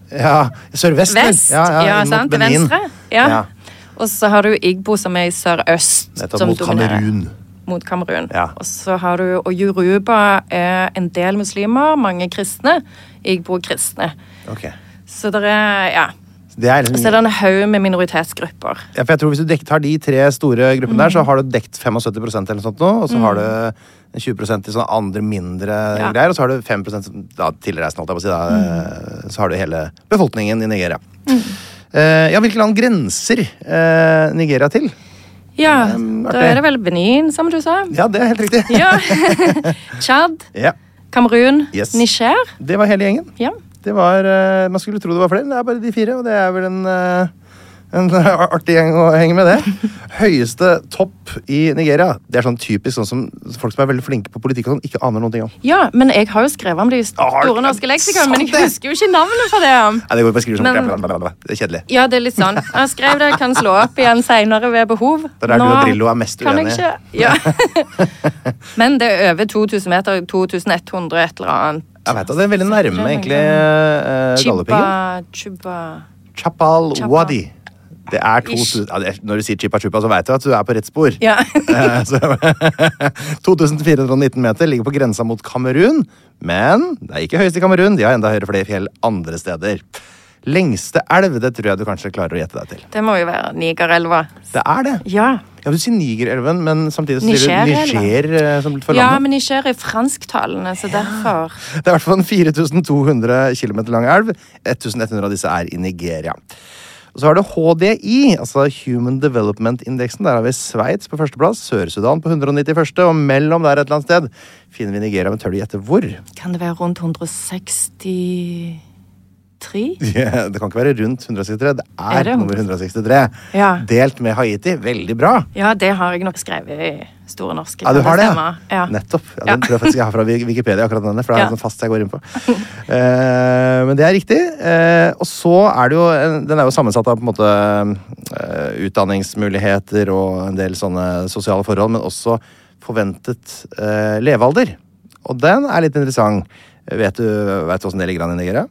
Speaker 1: Ja, Sørvest, vel?
Speaker 2: vest,
Speaker 1: Ja, ja, inn mot
Speaker 2: sant, til
Speaker 1: Benin.
Speaker 2: venstre. Ja.
Speaker 1: Ja.
Speaker 2: Og så har du Igbo som er i sørøst.
Speaker 1: Nettopp,
Speaker 2: som
Speaker 1: mot
Speaker 2: dominerer.
Speaker 1: Kamerun.
Speaker 2: Mot Kamerun.
Speaker 1: Ja.
Speaker 2: Og så har du Og Yoruba er en del muslimer, mange kristne. Igbo er kristne.
Speaker 1: Ok.
Speaker 2: Så det er Ja.
Speaker 1: Det er
Speaker 2: Og så er det
Speaker 1: liksom,
Speaker 2: en haug med minoritetsgrupper.
Speaker 1: ja, for jeg tror Hvis du dek- tar de tre store gruppene der,
Speaker 2: Mm.
Speaker 1: så har du dekt 75 eller noe sånt nå, og så har du 20 til sånne andre mindre
Speaker 2: Ja.
Speaker 1: greier, og så har du 5 som- da, tilreisende, holdt jeg på å si.
Speaker 2: Mm.
Speaker 1: Da, eh, Så har du hele befolkningen i Nigeria. Eh, ja, Hvilke land grenser eh, Nigeria til?
Speaker 2: Ja,
Speaker 1: Mm,
Speaker 2: da
Speaker 1: artig.
Speaker 2: er det vel Benin, som du sa.
Speaker 1: Ja, det er helt riktig.
Speaker 2: Ja. Tsjad,
Speaker 1: Ja.
Speaker 2: Kamerun,
Speaker 1: Yes.
Speaker 2: Niger.
Speaker 1: Det var hele gjengen.
Speaker 2: Ja.
Speaker 1: Det var, eh, Man skulle tro det var flere, men det er bare de fire. Og det er vel en, eh, en artig gjeng å henge med, det. Høyeste topp i Nigeria. Det er sånn typisk sånn som folk som er veldig flinke på politikk og sånn, ikke aner noen ting om.
Speaker 2: ja, men jeg har jo skrevet om det i
Speaker 1: Har du-
Speaker 2: Store norske leksikon, men jeg
Speaker 1: Sant det.
Speaker 2: husker jo ikke navnet på det.
Speaker 1: Nei, det går bare skriver sånn
Speaker 2: Men-
Speaker 1: blablabla. Det er kjedelig.
Speaker 2: Ja, det er litt sånn. Jeg skrev det, kan slå opp igjen seinere ved behov.
Speaker 1: Det er der du og Drillo er mest
Speaker 2: kan
Speaker 1: uenige.
Speaker 2: jeg ikke- Ja. men det er over 2000 meter, 2100 et eller annet.
Speaker 1: Jeg vet, det, det er veldig nærme, egentlig, uh, Galdhøpiggen.
Speaker 2: Chibba, chibba.
Speaker 1: Chapal
Speaker 2: Chapa.
Speaker 1: Wadi. Det er to,
Speaker 2: Ish.
Speaker 1: ja, det er, når du sier Chipa Chupa, så veit du at du er på rett spor.
Speaker 2: Ja.
Speaker 1: Eh, så, 2419 meter ligger på grensa mot Kamerun, men det er ikke høyest i Kamerun. De har enda høyere flere fjell andre steder. Lengste elv, det tror jeg du kanskje klarer å gjette deg til.
Speaker 2: Det må jo være Nigerelva.
Speaker 1: Det er det.
Speaker 2: Ja.
Speaker 1: Ja, Du sier Nigerelven, men samtidig så sier du
Speaker 2: Nigerelva.
Speaker 1: Niger eh, som for
Speaker 2: ja,
Speaker 1: landet.
Speaker 2: men Niger er fransktalende, så derfor
Speaker 1: Det er i hvert fall en 4200 km lang elv. 1100 av disse er i Nigeria. Og så har du HDI, altså Human Development-indeksen. Der har vi Sveits på førsteplass, Sør-Sudan på 191., og mellom der et eller annet sted finner vi Nigeria, men tør du gjette hvor?
Speaker 2: Kan det være rundt 163?
Speaker 1: Ja, Det kan ikke være rundt 163, det er,
Speaker 2: Er det
Speaker 1: nummer 163.
Speaker 2: Ja.
Speaker 1: Delt med Haiti. Veldig bra!
Speaker 2: Ja, det har jeg nok skrevet i Store norske.
Speaker 1: Ja, du
Speaker 2: kan
Speaker 1: har det, ja.
Speaker 2: stemme? ja.
Speaker 1: Nettopp. Ja,
Speaker 2: Ja.
Speaker 1: den tror jeg faktisk jeg har fra Wik- Wikipedia, akkurat denne, for det er
Speaker 2: Ja.
Speaker 1: sånn fast jeg går inn på. Eh, men det er riktig. Eh, og så er det jo en- Den er jo sammensatt av på en måte eh, utdanningsmuligheter og en del sånne sosiale forhold, men også forventet eh, levealder. Og den er litt interessant. Vet du vet du åssen det ligger an i Nigeria?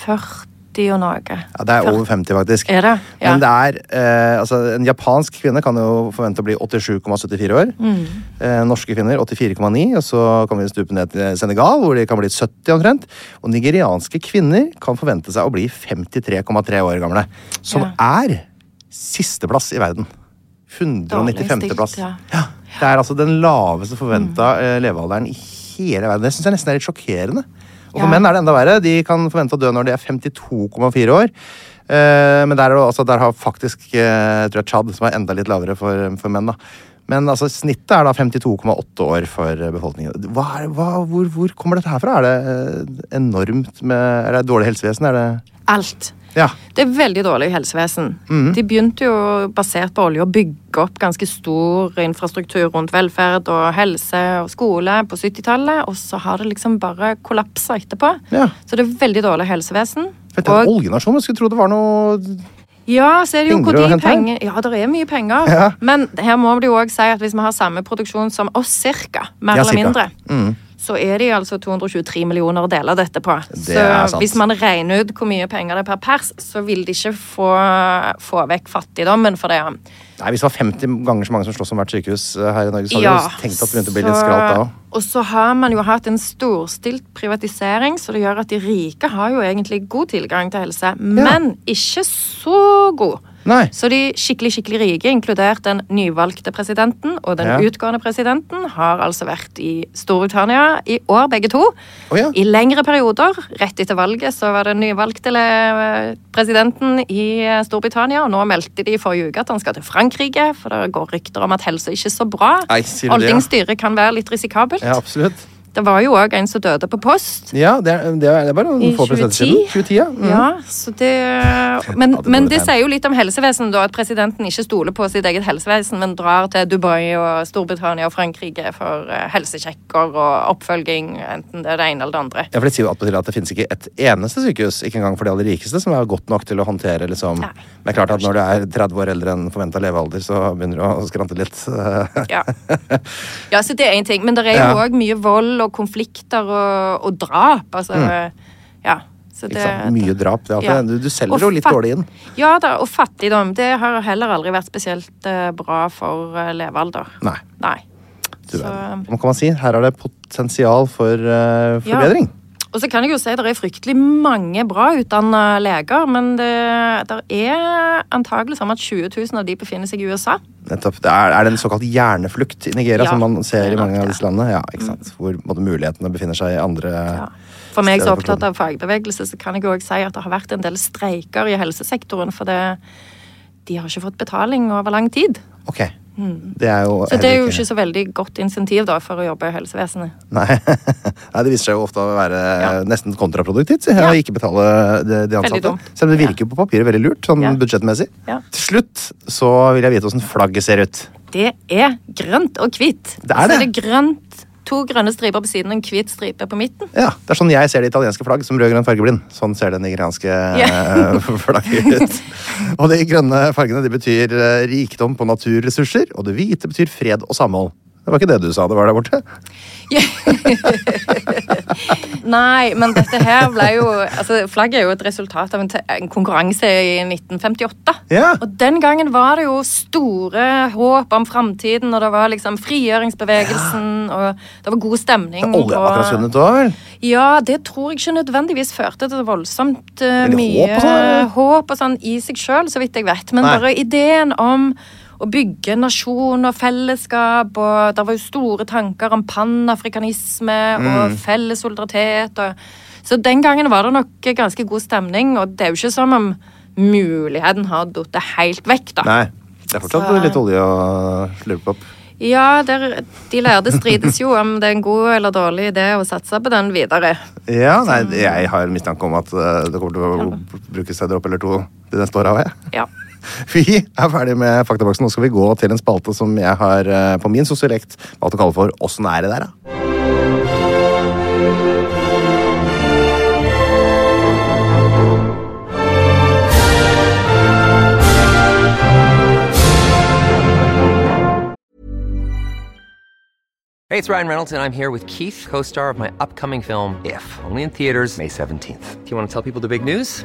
Speaker 2: 40 40 og noe.
Speaker 1: Ja, det er over 50, faktisk.
Speaker 2: Er det? Ja.
Speaker 1: Men det er, eh, altså, en japansk kvinne kan jo forvente å bli 87,74 år.
Speaker 2: Mm.
Speaker 1: Eh, norske kvinner 84,9, og så kan vi stupe ned til Senegal, hvor de kan bli 70 omtrent. Og nigerianske kvinner kan forvente seg å bli 53,3 år gamle. Som er sisteplass i verden. 195. plass.
Speaker 2: Dårlig stilt, ja.
Speaker 1: Ja, det er altså den laveste forventa eh, levealderen i hele verden. Det syns jeg nesten er litt sjokkerende. Og for
Speaker 2: Ja.
Speaker 1: menn er det enda verre. De kan forvente å dø når de er 52,4 år. Eh, men der, er det, altså, der har faktisk eh, tror jeg Tsjad, som er enda litt lavere for, for menn. da. Men altså, snittet er da 52,8 år for eh, befolkningen. Hva er, hva, hvor, hvor kommer dette her fra? Er det eh, enormt med Er det dårlig helsevesen? Er det
Speaker 2: Alt.
Speaker 1: Ja.
Speaker 2: Det er veldig dårlig helsevesen.
Speaker 1: Mhm.
Speaker 2: De begynte jo, basert på olje, å bygge opp ganske stor infrastruktur rundt velferd og helse og skole på 70-tallet, og så har det liksom bare kollapsa etterpå.
Speaker 1: Ja.
Speaker 2: Så det er veldig dårlig helsevesen.
Speaker 1: Vet du, en oljenasjon? Jeg skulle tro det var noe
Speaker 2: Ja, så er det jo hvor
Speaker 1: Penger å
Speaker 2: de
Speaker 1: hente her?
Speaker 2: penger Ja, det er mye penger. Men her må vi jo òg si at hvis vi har samme produksjon som oss, cirka, mer
Speaker 1: Ja,
Speaker 2: eller
Speaker 1: cirka. Mm.
Speaker 2: mindre, så er de altså 223 millioner å dele dette på.
Speaker 1: Det
Speaker 2: Så
Speaker 1: er sant.
Speaker 2: hvis man regner ut hvor mye penger det er per pers, så vil de ikke få, få vekk fattigdommen for det.
Speaker 1: Nei, Hvis det var 50 ganger så mange som slåss om hvert sykehus eh, her i Norge, så hadde vi jo tenkt at det begynte å bli litt
Speaker 2: så-
Speaker 1: skralt da òg.
Speaker 2: Og så har man jo hatt en storstilt privatisering, så det gjør at de rike har jo egentlig god tilgang til helse, men ikke så god.
Speaker 1: Nei.
Speaker 2: Så de skikkelig, skikkelig rike, inkludert den nyvalgte presidenten og den
Speaker 1: Ja.
Speaker 2: utgående presidenten, har altså vært i Storbritannia i år, begge to.
Speaker 1: Å ja.
Speaker 2: I lengre perioder. Rett etter valget så var det nyvalgte le- presidenten i eh, Storbritannia, og nå meldte de i forrige uke at han skal til Frankrike, for det går rykter om at helse ikke er så bra.
Speaker 1: Nei, sier du det, ja?
Speaker 2: Oldings styre kan være litt risikabelt.
Speaker 1: Ja, absolutt.
Speaker 2: Det var jo òg en som døde på post.
Speaker 1: Ja, det er, det er, det er bare
Speaker 2: I
Speaker 1: noen få prosent
Speaker 2: 2010.
Speaker 1: siden. 2010, ja. Mm.
Speaker 2: Ja, så det Men,
Speaker 1: Ja, det
Speaker 2: men
Speaker 1: går
Speaker 2: det
Speaker 1: litt
Speaker 2: sier jo litt om helsevesenet, da. At presidenten ikke stoler på sitt eget helsevesen, men drar til Dubai og Storbritannia og Frankrike for eh, helsesjekker og oppfølging, enten det er det ene eller det andre.
Speaker 1: Ja, for Det sier jo attpåtil at det finnes ikke et eneste sykehus ikke engang for de aller rikeste, som er godt nok til å håndtere liksom.
Speaker 2: Nei.
Speaker 1: Men det er klart at når du er 30 år eldre enn forventa levealder, så begynner du å skrante litt.
Speaker 2: Ja. ja, så det er én ting. Men det er
Speaker 1: Ja.
Speaker 2: jo òg mye vold og konflikter og, og drap. Altså, ja. Så
Speaker 1: Mm.
Speaker 2: det,
Speaker 1: Ikke sant? Mye drap. Det er
Speaker 2: ja.
Speaker 1: alltid, du, du
Speaker 2: Og
Speaker 1: selger jo litt
Speaker 2: fat-
Speaker 1: dårlig inn.
Speaker 2: Ja da, og fattigdom. Det har heller aldri vært spesielt eh, bra for eh, levealder.
Speaker 1: Nei.
Speaker 2: Så,
Speaker 1: Hva kan man si? Her er det potensial for eh,
Speaker 2: Ja.
Speaker 1: forbedring.
Speaker 2: og så kan jeg jo si det er fryktelig mange bra utdanna leger, men det der er antakelig sånn at 20 000 av de befinner seg i USA.
Speaker 1: Nettopp. Det er, er det en såkalt hjerneflukt i Nigeria,
Speaker 2: Ja,
Speaker 1: som man ser
Speaker 2: det
Speaker 1: i
Speaker 2: er nok
Speaker 1: mange av
Speaker 2: det. Mm.
Speaker 1: disse landene? Ja, ikke sant? Hvor både mulighetene befinner seg i andre
Speaker 2: Ja. For meg
Speaker 1: Stedet
Speaker 2: som er
Speaker 1: for
Speaker 2: opptatt
Speaker 1: kloden.
Speaker 2: av fagbevegelse, så kan jeg òg si at det har vært en del streiker i helsesektoren. For det, de har ikke fått betaling over lang tid.
Speaker 1: Ok. Det er jo
Speaker 2: Mm. Så det er
Speaker 1: heller
Speaker 2: jo ikke så veldig godt insentiv da, for å jobbe i helsevesenet.
Speaker 1: Nei. Nei, det viser seg jo ofte å være
Speaker 2: Ja.
Speaker 1: nesten kontraproduktivt sier jeg,
Speaker 2: Ja.
Speaker 1: å ikke betale de, de ansatte.
Speaker 2: dumt.
Speaker 1: Selv om det virker jo på papiret veldig lurt, sånn
Speaker 2: Ja.
Speaker 1: budsjettmessig.
Speaker 2: Ja.
Speaker 1: Til slutt så vil jeg vite åssen flagget ser ut.
Speaker 2: Det er grønt og hvitt.
Speaker 1: Det er
Speaker 2: Så
Speaker 1: det.
Speaker 2: er det grønt, to grønne striper på siden og en hvit stripe på midten.
Speaker 1: Ja, Det er sånn jeg ser det italienske flagg som rød-grønn fargeblind. Sånn ser det nigerianske eh, flagget ut. Og de grønne fargene de betyr eh, rikdom på naturressurser, og det hvite betyr fred og samhold. Det var ikke det du sa det var der borte?
Speaker 2: Nei, men dette her ble jo altså Flagget er jo et resultat av en, te- en konkurranse i 1958.
Speaker 1: Ja.
Speaker 2: Og den gangen var det jo store håp om framtiden, og det var liksom frigjøringsbevegelsen, og det var god stemning.
Speaker 1: Olje
Speaker 2: og-
Speaker 1: akkurat funnet òg, vel?
Speaker 2: Ja, det tror jeg ikke nødvendigvis førte til voldsomt eh,
Speaker 1: Veldig
Speaker 2: mye
Speaker 1: håp og sånn, eller?
Speaker 2: håp og sånn i seg sjøl, så vidt jeg vet. Men
Speaker 1: Nei.
Speaker 2: bare ideen om å bygge nasjon og fellesskap, og det var jo store tanker om panafrikanisme
Speaker 1: Mm.
Speaker 2: og felles solidaritet og Så den gangen var det nok ganske god stemning, og det er jo ikke som om muligheten har falt helt vekk, da.
Speaker 1: Nei. Det er fortsatt
Speaker 2: Så-
Speaker 1: litt olje å slurpe opp.
Speaker 2: Ja, der, de lærde strides jo om det er en god eller dårlig idé å satse på den videre.
Speaker 1: Ja, nei, jeg har en mistanke om at eh, det kommer til å brukes en dropp eller to de neste åra.
Speaker 2: Ja.
Speaker 1: Vi er ferdig med faktaboksen. Nå skal vi gå til en spalte som jeg har eh, på min sosiolekt valgt å kalle for Åssen er det der, da?
Speaker 3: Hey, it's Ryan Reynolds, and I'm here with Keith, co star of my upcoming film, If, only in theaters, May 17th. Do you want to tell people the big news?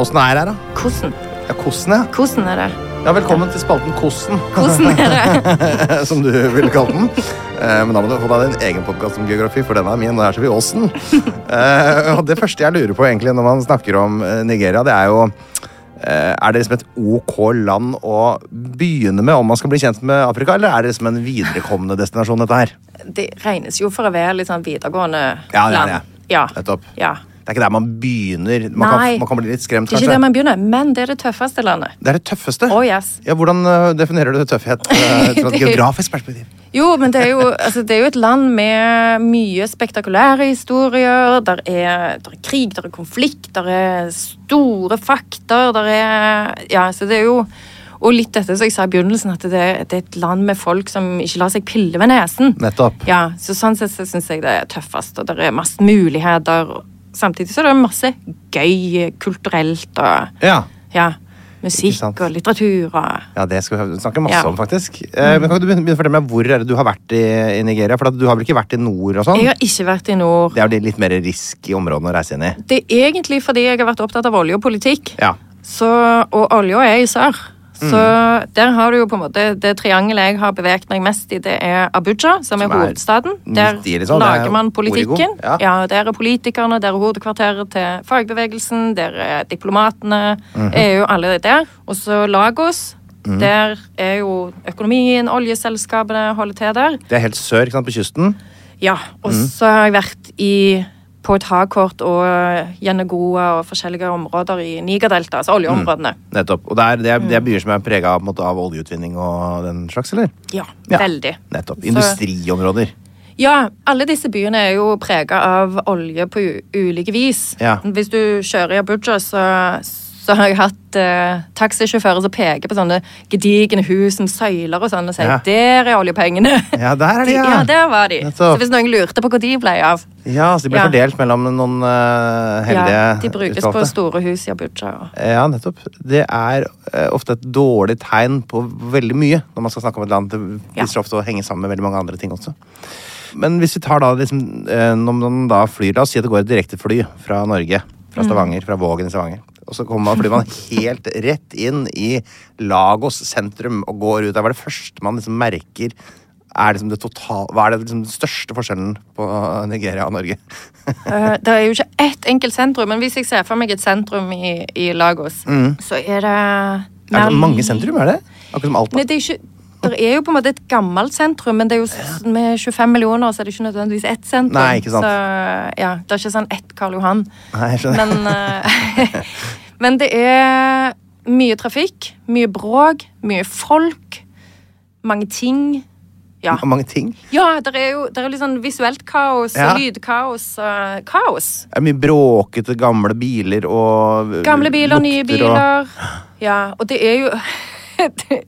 Speaker 1: Åssen er det her, da?
Speaker 2: Hvordan?
Speaker 1: Ja, Kossen, ja.
Speaker 2: Hvordan er det?
Speaker 1: ja. Velkommen til spalten Kossen,
Speaker 2: Hvordan er det?
Speaker 1: som du ville kalt den. Eh, Men da må du få deg din egen podkast om geografi, for den er min. og her ser vi åssen. Eh, Og det første jeg lurer på egentlig når man snakker om eh, Nigeria, det er jo eh, Er det liksom et ok land å begynne med om man skal bli kjent med Afrika, eller er det liksom en viderekommende destinasjon, dette her?
Speaker 2: Det regnes jo for å være litt sånn videregående
Speaker 1: Ja, det er
Speaker 2: land.
Speaker 1: det.
Speaker 2: Ja.
Speaker 1: Nettopp.
Speaker 2: Ja.
Speaker 1: Det er ikke der man begynner. Man, kan,
Speaker 2: Nei.
Speaker 1: man kan bli litt skremt,
Speaker 2: Det er
Speaker 1: kanskje.
Speaker 2: ikke der man begynner, men det er det tøffeste landet.
Speaker 1: Det er det tøffeste.
Speaker 2: Oh, yes.
Speaker 1: ja, hvordan øh, definerer du tøffhet øh, fra et
Speaker 2: Det-
Speaker 1: geografisk perspektiv?
Speaker 2: Jo, men det er jo, altså, det er jo et land med mye spektakulære historier. Der er, der er krig, der er konflikt, der er store fakter, der er Ja, så det er jo Og litt dette som jeg sa i begynnelsen, at det, er- det er et land med folk som ikke lar seg pille ved nesen.
Speaker 1: Nettopp.
Speaker 2: Ja, så sånn sett så syns jeg det er tøffest, og det er masse muligheter. og Samtidig så er det masse gøy kulturelt og
Speaker 1: Ja.
Speaker 2: ja,
Speaker 1: Ikke sant.
Speaker 2: musikk og litteratur og
Speaker 1: ja, det skal vi snakke masse
Speaker 2: Ja.
Speaker 1: om, faktisk. Eh, men kan ikke du begynne begynne å fortelle meg hvor er det du har vært i, i Nigeria? For at du har vel ikke vært i nord og sånn?
Speaker 2: Jeg har ikke vært i nord.
Speaker 1: Det er jo de litt mer risky områdene å reise inn i.
Speaker 2: Det er egentlig fordi jeg har vært opptatt av olje og politikk.
Speaker 1: Ja.
Speaker 2: Så, og olja er i sør. Så
Speaker 1: Mm.
Speaker 2: der har du jo på en måte Det triangelet jeg har beveget meg mest i, det er Abuja, som, er
Speaker 1: er
Speaker 2: hovedstaden. Der
Speaker 1: midt i, liksom. Det er
Speaker 2: lager man politikken.
Speaker 1: Origo. Ja.
Speaker 2: Der er politikerne, der er hovedkvarteret til fagbevegelsen, der er diplomatene,
Speaker 1: Mhm.
Speaker 2: EU, alle der. Og så Lagos. Der er jo økonomien, oljeselskapene holder til der.
Speaker 1: Det er helt sør, ikke sant, på kysten.
Speaker 2: Ja, og
Speaker 1: Mhm.
Speaker 2: så har jeg vært i, på et havkort og Yenegoa og forskjellige områder i Nigerdeltaet, altså oljeområdene.
Speaker 1: Nettopp. Og det er, det er,
Speaker 2: Mm.
Speaker 1: det er byer som er prega av, på en måte, av oljeutvinning og den slags, eller?
Speaker 2: Ja,
Speaker 1: Ja.
Speaker 2: veldig.
Speaker 1: Nettopp.
Speaker 2: Så-
Speaker 1: Industriområder.
Speaker 2: Ja, alle disse byene er jo prega av olje på u ulike vis.
Speaker 1: Ja.
Speaker 2: Hvis du kjører i Abuja, så, så har jeg hatt eh, taxisjåfører som peker på sånne gedigne hus som søyler og sånn, og sier
Speaker 1: Ja.
Speaker 2: 'der er oljepengene'.
Speaker 1: Ja, der er de, ja.
Speaker 2: ja. der var de.
Speaker 1: Nettopp.
Speaker 2: Så hvis noen lurte på hvor de ble av
Speaker 1: Ja, så de ble
Speaker 2: Ja.
Speaker 1: fordelt mellom noen øh, heldige
Speaker 2: ja, De brukes på
Speaker 1: utvalgte.
Speaker 2: store hus i Abuja. Og
Speaker 1: Ja, nettopp. Det er eh, ofte et dårlig tegn på veldig mye når man skal snakke om et land. Det viser
Speaker 2: Ja.
Speaker 1: ofte å henge sammen med veldig mange andre ting også. Men hvis vi tar da liksom, eh, når man da flyr, la oss si at det går et direktefly fra Norge, fra Stavanger, fra Vågen i Stavanger. Og så kommer man, flyr man helt rett inn i Lagos sentrum og går ut. Der var det første man liksom merker er liksom det total, Hva er det liksom den største forskjellen på Nigeria og Norge?
Speaker 2: Eh, Det er jo ikke ett enkelt sentrum, men hvis jeg ser for meg et sentrum i, i Lagos, så er det
Speaker 1: Mm. Er det
Speaker 2: mer-
Speaker 1: mange sentrum, er det? Akkurat som Alta.
Speaker 2: Nei, det er ikke det er jo på en måte et gammelt sentrum, men det er jo s- med 25 millioner så er det ikke nødvendigvis ett sentrum.
Speaker 1: Nei, ikke sant.
Speaker 2: Så, ja, det er ikke sånn ett Karl Johan.
Speaker 1: Nei, jeg skjønner.
Speaker 2: Men, eh, men det er mye trafikk, mye bråk, mye folk, mange ting. Ja.
Speaker 1: Og mange ting.
Speaker 2: Ja, det er jo det er jo litt sånn visuelt kaos,
Speaker 1: Ja.
Speaker 2: og lydkaos, og kaos.
Speaker 1: Det er mye bråkete gamle biler og eh,
Speaker 2: Gamle biler, nye
Speaker 1: lukter og-
Speaker 2: biler. Ja, og det er jo det,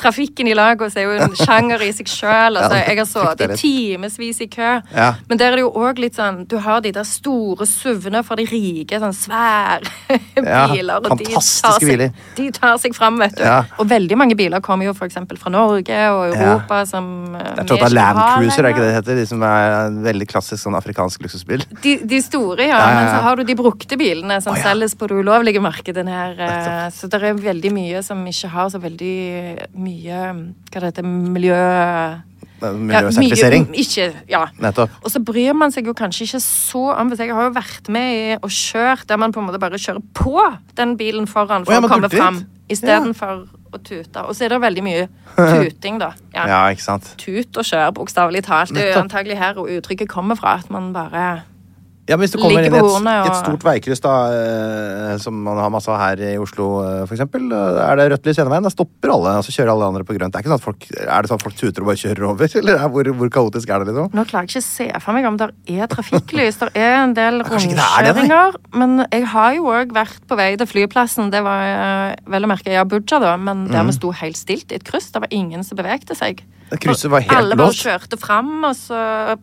Speaker 2: trafikken i Lagos er jo en sjanger i seg sjøl. Altså,
Speaker 1: Ja,
Speaker 2: jeg har sittet i
Speaker 1: frykter
Speaker 2: timevis i kø.
Speaker 1: Ja.
Speaker 2: Men der er det jo òg litt sånn Du har de der store SUV-ene for de rike. Sånn svære
Speaker 1: Ja,
Speaker 2: biler. og de tar
Speaker 1: fantastiske
Speaker 2: seg-
Speaker 1: biler.
Speaker 2: De tar seg fram, vet du.
Speaker 1: Ja.
Speaker 2: Og veldig mange biler kommer jo f.eks. fra Norge og Europa som eh,
Speaker 1: Jeg tror det er
Speaker 2: vi ikke
Speaker 1: Land
Speaker 2: har
Speaker 1: Cruiser, er ikke det
Speaker 2: lenger.
Speaker 1: det heter? De som er en veldig klassisk sånn afrikansk luksusbil.
Speaker 2: De, de store, ja,
Speaker 1: ja,
Speaker 2: Men
Speaker 1: ja.
Speaker 2: så har du de brukte bilene som
Speaker 1: Å, ja.
Speaker 2: selges på det ulovlige markedet her. eh, Så det er veldig mye som ikke har så veldig mye Hva det heter Miljø...
Speaker 1: Eh, Miljøsertifisering.
Speaker 2: Ja, mye- ikke, ja.
Speaker 1: Nettopp.
Speaker 2: Og så bryr man seg jo kanskje ikke så om hvis Jeg har jo vært med i og kjørt der man på en måte bare kjører på den bilen foran for
Speaker 1: Å, ja,
Speaker 2: å
Speaker 1: man
Speaker 2: komme
Speaker 1: burde
Speaker 2: fram,
Speaker 1: litt.
Speaker 2: istedenfor å tute. Og så er det veldig mye tuting, da. Ja.
Speaker 1: Ja, ikke sant.
Speaker 2: Tut og kjør, bokstavelig talt. Det er jo
Speaker 1: Nettopp.
Speaker 2: antagelig her hvor uttrykket kommer fra. At man bare
Speaker 1: Ja, men Hvis du kommer
Speaker 2: Ligger
Speaker 1: inn i
Speaker 2: på
Speaker 1: et,
Speaker 2: hornet,
Speaker 1: et
Speaker 2: og-
Speaker 1: stort veikryss, da, eh, som man har masse av her i Oslo eh, for eksempel, eh, er det rødt lys ene veien, da stopper alle, og så kjører alle andre på grønt. Det er, ikke sånn at folk, er det sånn at folk tuter og bare kjører over? Eller er, hvor, hvor kaotisk er det, liksom?
Speaker 2: Nå klarer jeg ikke å se for meg om det er trafikklys. Det er en del
Speaker 1: kanskje ikke det er det, nei.
Speaker 2: rundkjøringer. Men jeg har jo òg vært på vei til flyplassen. Det var eh, vel å merke i Abuja, da. Men der vi sto helt stilt i et kryss. Det var ingen som bevegde seg.
Speaker 1: Mhm. Det krysset var helt
Speaker 2: Alle bare
Speaker 1: blåst.
Speaker 2: kjørte fram, og så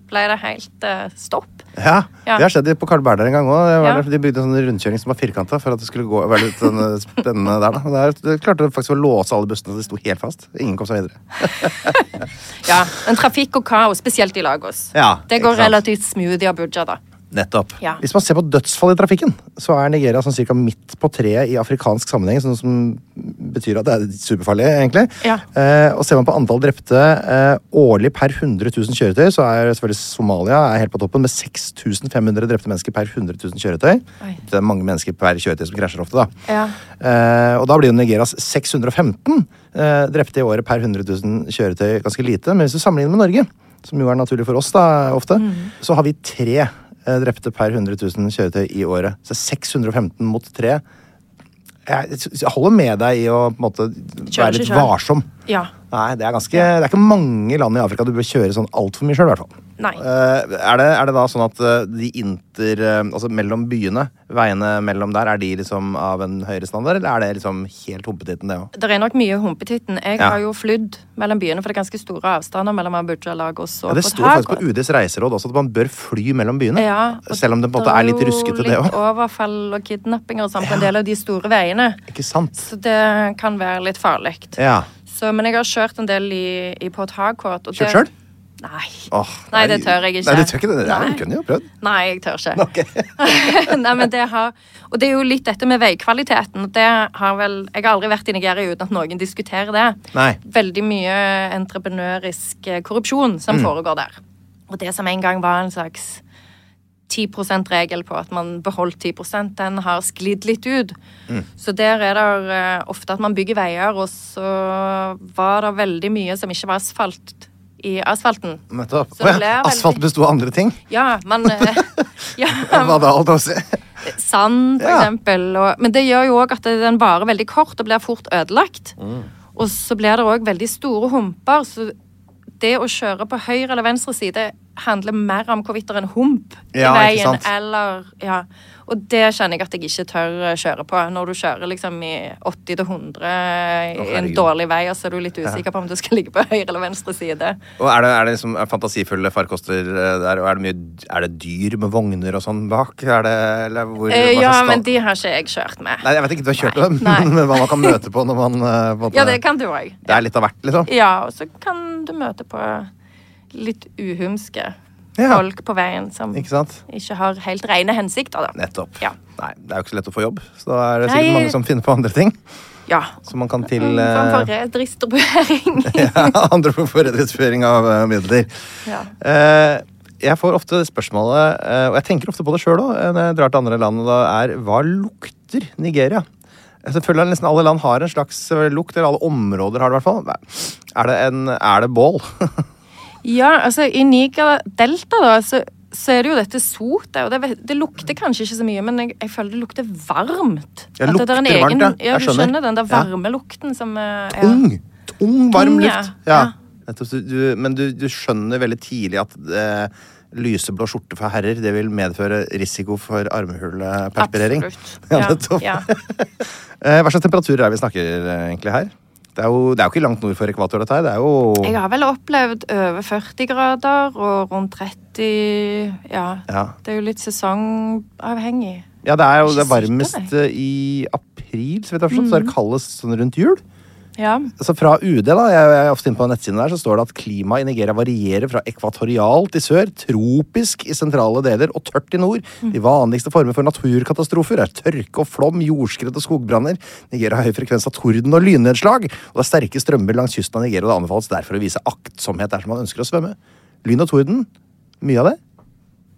Speaker 2: ble det helt eh, stopp.
Speaker 1: Ja,
Speaker 2: Ja.
Speaker 1: Det har skjedd på Carl Berner en gang òg.
Speaker 2: Ja.
Speaker 1: De bygde en sånn rundkjøring som var firkanta for at det skulle gå, være litt sånn, eh, spennende der. Da. Der, det klarte faktisk å låse alle bussene, så de sto helt fast. Ingen kom seg videre.
Speaker 2: Ja, Men trafikk og kaos, spesielt i Lagos.
Speaker 1: Ja,
Speaker 2: det
Speaker 1: ikke
Speaker 2: går
Speaker 1: sant.
Speaker 2: relativt smooth i Abuja, da.
Speaker 1: Nettopp.
Speaker 2: Ja.
Speaker 1: Hvis man ser på dødsfall i trafikken, så er Nigeria sånn cirka midt på treet i afrikansk sammenheng, sånn som betyr at det er superfarlig, egentlig.
Speaker 2: Ja.
Speaker 1: Eh, og ser man på antall drepte eh, årlig per 100 000 kjøretøy, så er selvfølgelig Somalia er helt på toppen med 6500 drepte mennesker per 100 000 kjøretøy.
Speaker 2: Oi.
Speaker 1: Det er mange mennesker per kjøretøy som krasjer ofte, da.
Speaker 2: Ja.
Speaker 1: Eh, og da blir jo Nigerias 615 eh, drepte i året per 100 000 kjøretøy ganske lite. Men hvis du sammenligner med Norge, som jo er naturlig for oss da, ofte,
Speaker 2: Mm.
Speaker 1: så har vi tre eh, drepte per 100 000 kjøretøy i året. Så 615 mot tre. Jeg, jeg holder med deg i å på en måte,
Speaker 2: Kjører
Speaker 1: være
Speaker 2: ikke
Speaker 1: litt
Speaker 2: selv.
Speaker 1: varsom.
Speaker 2: Ja.
Speaker 1: Nei, det er, ganske, det er ikke mange land i Afrika du bør kjøre sånn altfor mye sjøl, i hvert fall.
Speaker 2: Nei.
Speaker 1: Eh, er, det, er det da sånn at eh, de inter... eh, altså mellom byene, veiene mellom der, er de liksom av en høyere standard, eller er det liksom helt humpetitten, det òg?
Speaker 2: Det er nok mye humpetitten. Jeg
Speaker 1: Ja.
Speaker 2: har jo flydd mellom byene, for det er ganske store avstander mellom Abuja, Lagos og
Speaker 1: Ja, det
Speaker 2: Port
Speaker 1: står faktisk
Speaker 2: Harcourt.
Speaker 1: på UDs reiseråd også at man bør fly mellom byene.
Speaker 2: Ja, og
Speaker 1: selv om det på en måte er litt ruskete, det
Speaker 2: er jo
Speaker 1: òg.
Speaker 2: Litt overfall og kidnappinger og sånn på en del av de store veiene.
Speaker 1: Ikke sant?
Speaker 2: Så det kan være litt farlig.
Speaker 1: Ja.
Speaker 2: Så, men jeg har kjørt en del i, i Port Harcourt. og
Speaker 1: Kjørt
Speaker 2: det-
Speaker 1: selv?
Speaker 2: Nei.
Speaker 1: Åh,
Speaker 2: Nei, det tør jeg ikke.
Speaker 1: Nei, du tør ikke det? Ja,
Speaker 2: Nei.
Speaker 1: du kunne jo prøvd.
Speaker 2: Nei, jeg tør ikke.
Speaker 1: Ok.
Speaker 2: Nei, men det har, og det er jo litt dette med veikvaliteten. og Det har vel, jeg har aldri vært i Nigeria uten at noen diskuterer det.
Speaker 1: Nei.
Speaker 2: Veldig mye entreprenørisk eh, korrupsjon
Speaker 1: Mm.
Speaker 2: som foregår der. Og det som en gang var en slags 10 %-regel på at man beholdt 10 den har sklidd litt ut.
Speaker 1: Mm.
Speaker 2: Så der er det eh, ofte at man bygger veier, og så var det veldig mye som ikke var asfalt i asfalten.
Speaker 1: Nettopp.
Speaker 2: Så det
Speaker 1: Å
Speaker 2: ble
Speaker 1: ja,
Speaker 2: veldig-
Speaker 1: Asfalt besto av andre ting.
Speaker 2: Ja, man eh, ja,
Speaker 1: Hva da, alt å si?
Speaker 2: sand, for
Speaker 1: Ja.
Speaker 2: eksempel. Og, men det gjør jo òg at den varer veldig kort og blir fort ødelagt.
Speaker 1: Mm.
Speaker 2: Og så blir det òg veldig store humper, så det å kjøre på høyre eller venstre side handler mer om hvorvidt det er en hump
Speaker 1: Ja,
Speaker 2: i
Speaker 1: ikke
Speaker 2: veien
Speaker 1: sant.
Speaker 2: eller Ja. Og det kjenner jeg at jeg ikke tør eh, kjøre på. Når du kjører liksom i 80 til 100 i en
Speaker 1: herregud.
Speaker 2: dårlig vei, og så er du litt usikker på om du skal ligge på høyre eller venstre side.
Speaker 1: Og er det, er det liksom fantasifulle farkoster eh, der, og er det, mye, er det dyr med vogner og sånn bak? Er det, eller hvor,
Speaker 2: Eh,
Speaker 1: hva
Speaker 2: ja,
Speaker 1: slags stand-
Speaker 2: men de har ikke jeg kjørt med.
Speaker 1: Nei, jeg vet ikke, du har kjørt
Speaker 2: Nei,
Speaker 1: dem,
Speaker 2: nei.
Speaker 1: men hva man kan møte på når man eh, på en måte,
Speaker 2: Ja, det kan du òg.
Speaker 1: Det er litt av hvert, liksom.
Speaker 2: Ja, og så kan du møte på litt uhumske
Speaker 1: Ja.
Speaker 2: folk på veien som
Speaker 1: Ikke sant?
Speaker 2: ikke har helt rene hensikter, da.
Speaker 1: Nettopp.
Speaker 2: Ja.
Speaker 1: Nei, det er jo ikke så lett å få jobb, så da er det sikkert
Speaker 2: Nei. Mm,
Speaker 1: mange som finner på andre ting.
Speaker 2: ja.
Speaker 1: Som man kan til
Speaker 2: En form
Speaker 1: eh,
Speaker 2: for redistribuering.
Speaker 1: ja, andre for forretningsføring av eh, midler.
Speaker 2: Ja.
Speaker 1: Eh, jeg får ofte spørsmålet, eh, og jeg tenker ofte på det sjøl òg, når jeg drar til andre land, og da er hva lukter Nigeria? Jeg føler at Nesten alle land har en slags eh, lukt, eller alle områder har det i hvert fall. Nei. Er det, en, er det bål?
Speaker 2: ja, altså i Niger-delta, da, så, så er det jo dette sotet. Og det, vet- det lukter kanskje ikke så mye, men jeg, jeg føler det lukter varmt.
Speaker 1: Ja,
Speaker 2: At det er en
Speaker 1: lukter varmt,
Speaker 2: egen-
Speaker 1: ja. Jeg
Speaker 2: ja. Du
Speaker 1: skjønner.
Speaker 2: skjønner den der
Speaker 1: Ja.
Speaker 2: varme lukten som eh, er-
Speaker 1: Tung! Tung, varm
Speaker 2: Tung, ja.
Speaker 1: luft. Ja.
Speaker 2: Ja.
Speaker 1: Nettopp, så du, men du, du skjønner veldig tidlig at eh, lyseblå skjorte for herrer det vil medføre risiko for armhuleperspirering.
Speaker 2: Absolutt.
Speaker 1: Ja,
Speaker 2: Ja,
Speaker 1: nettopp.
Speaker 2: ja.
Speaker 1: Eh, Hva slags temperaturer er vi snakker eh, egentlig her? Det er jo, det er jo ikke langt nord for ekvator, dette her. Det er jo
Speaker 2: Jeg har vel opplevd over 40 grader og rundt 30 Ja.
Speaker 1: Ja.
Speaker 2: Det er jo litt sesongavhengig.
Speaker 1: Ja, det er jo det er
Speaker 2: Ikke sikkert,
Speaker 1: varmest eh, i april, så vidt jeg har forstått. Så er det kaldest sånn rundt jul.
Speaker 2: Ja.
Speaker 1: Så fra UD, da, jeg er ofte inne på nettsiden der, så står det at klimaet i Nigeria varierer fra ekvatorialt i sør, tropisk i sentrale deler og tørt i nord. De vanligste former for naturkatastrofer er tørke og flom, jordskred og skogbranner. Nigeria har høy frekvens av torden og lynnedslag, og det er sterke strømmer langs kysten av Nigeria. og Det anbefales derfor å vise aktsomhet dersom man ønsker å svømme. Lyn og torden, mye av det.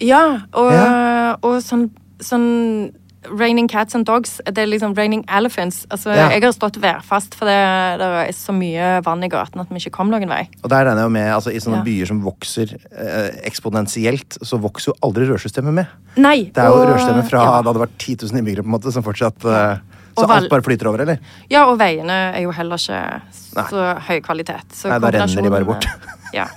Speaker 2: Ja, og,
Speaker 1: Ja.
Speaker 2: og sånn, sånn Raining cats and dogs. Det er liksom raining elephants. Altså,
Speaker 1: Ja.
Speaker 2: Jeg har stått værfast, for det, det er så mye vann i gaten at vi ikke kom noen vei.
Speaker 1: Og der regner jeg jo med, altså I sånne
Speaker 2: Ja.
Speaker 1: byer som vokser eh, eksponentielt, så vokser jo aldri rørsystemet med.
Speaker 2: Nei,
Speaker 1: Det er jo
Speaker 2: og-
Speaker 1: rørsystemet fra
Speaker 2: ja.
Speaker 1: det hadde vært 10 000 innbyggere på en måte, som fortsatt eh, Så
Speaker 2: Og val-
Speaker 1: alt bare flyter over, eller?
Speaker 2: Ja, og veiene er jo heller ikke
Speaker 1: Nei.
Speaker 2: så høy kvalitet. Så
Speaker 1: Nei, da renner de bare bort.
Speaker 2: kombinasjonen- ja,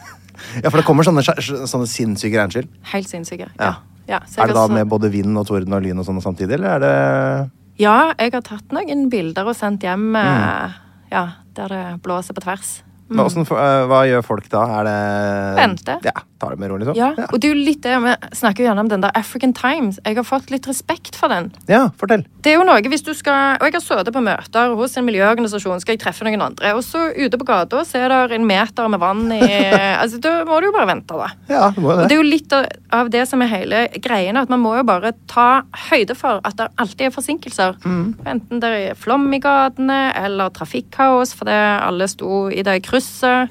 Speaker 1: Ja, for det kommer sånne, skjær- sånne sinnssyke regnskyll.
Speaker 2: helt sinnssyke.
Speaker 1: Ja.
Speaker 2: Ja. Ja, så jeg
Speaker 1: Er det da
Speaker 2: har så-
Speaker 1: med både vind og torden og lyn og sånne samtidig, eller er det
Speaker 2: ja, jeg har tatt noen bilder og sendt hjem
Speaker 1: Mm.
Speaker 2: eh, ja, der det blåser på tvers.
Speaker 1: hva, åssen f- eh, hva gjør folk da? Er det
Speaker 2: Mm. Vente.
Speaker 1: Ja, Tar det med ro, liksom?
Speaker 2: Ja,
Speaker 1: ja.
Speaker 2: og det er jo litt det, Vi snakker jo gjerne om den der African Times. Jeg har fått litt respekt for den.
Speaker 1: Ja, fortell.
Speaker 2: Det er jo noe hvis du skal, og Jeg har sittet på møter hos en miljøorganisasjon, skal jeg treffe noen andre. Og så ute på gata så er det en meter med vann i altså Da må du jo bare vente, da.
Speaker 1: Ja, du må jo
Speaker 2: Og det
Speaker 1: det.
Speaker 2: er jo litt av- av det som er hele greien, at man må jo bare ta høyde for at det alltid er forsinkelser.
Speaker 1: Mm.
Speaker 2: Enten det er flom i gatene, eller trafikkaos fordi alle sto i det krysset,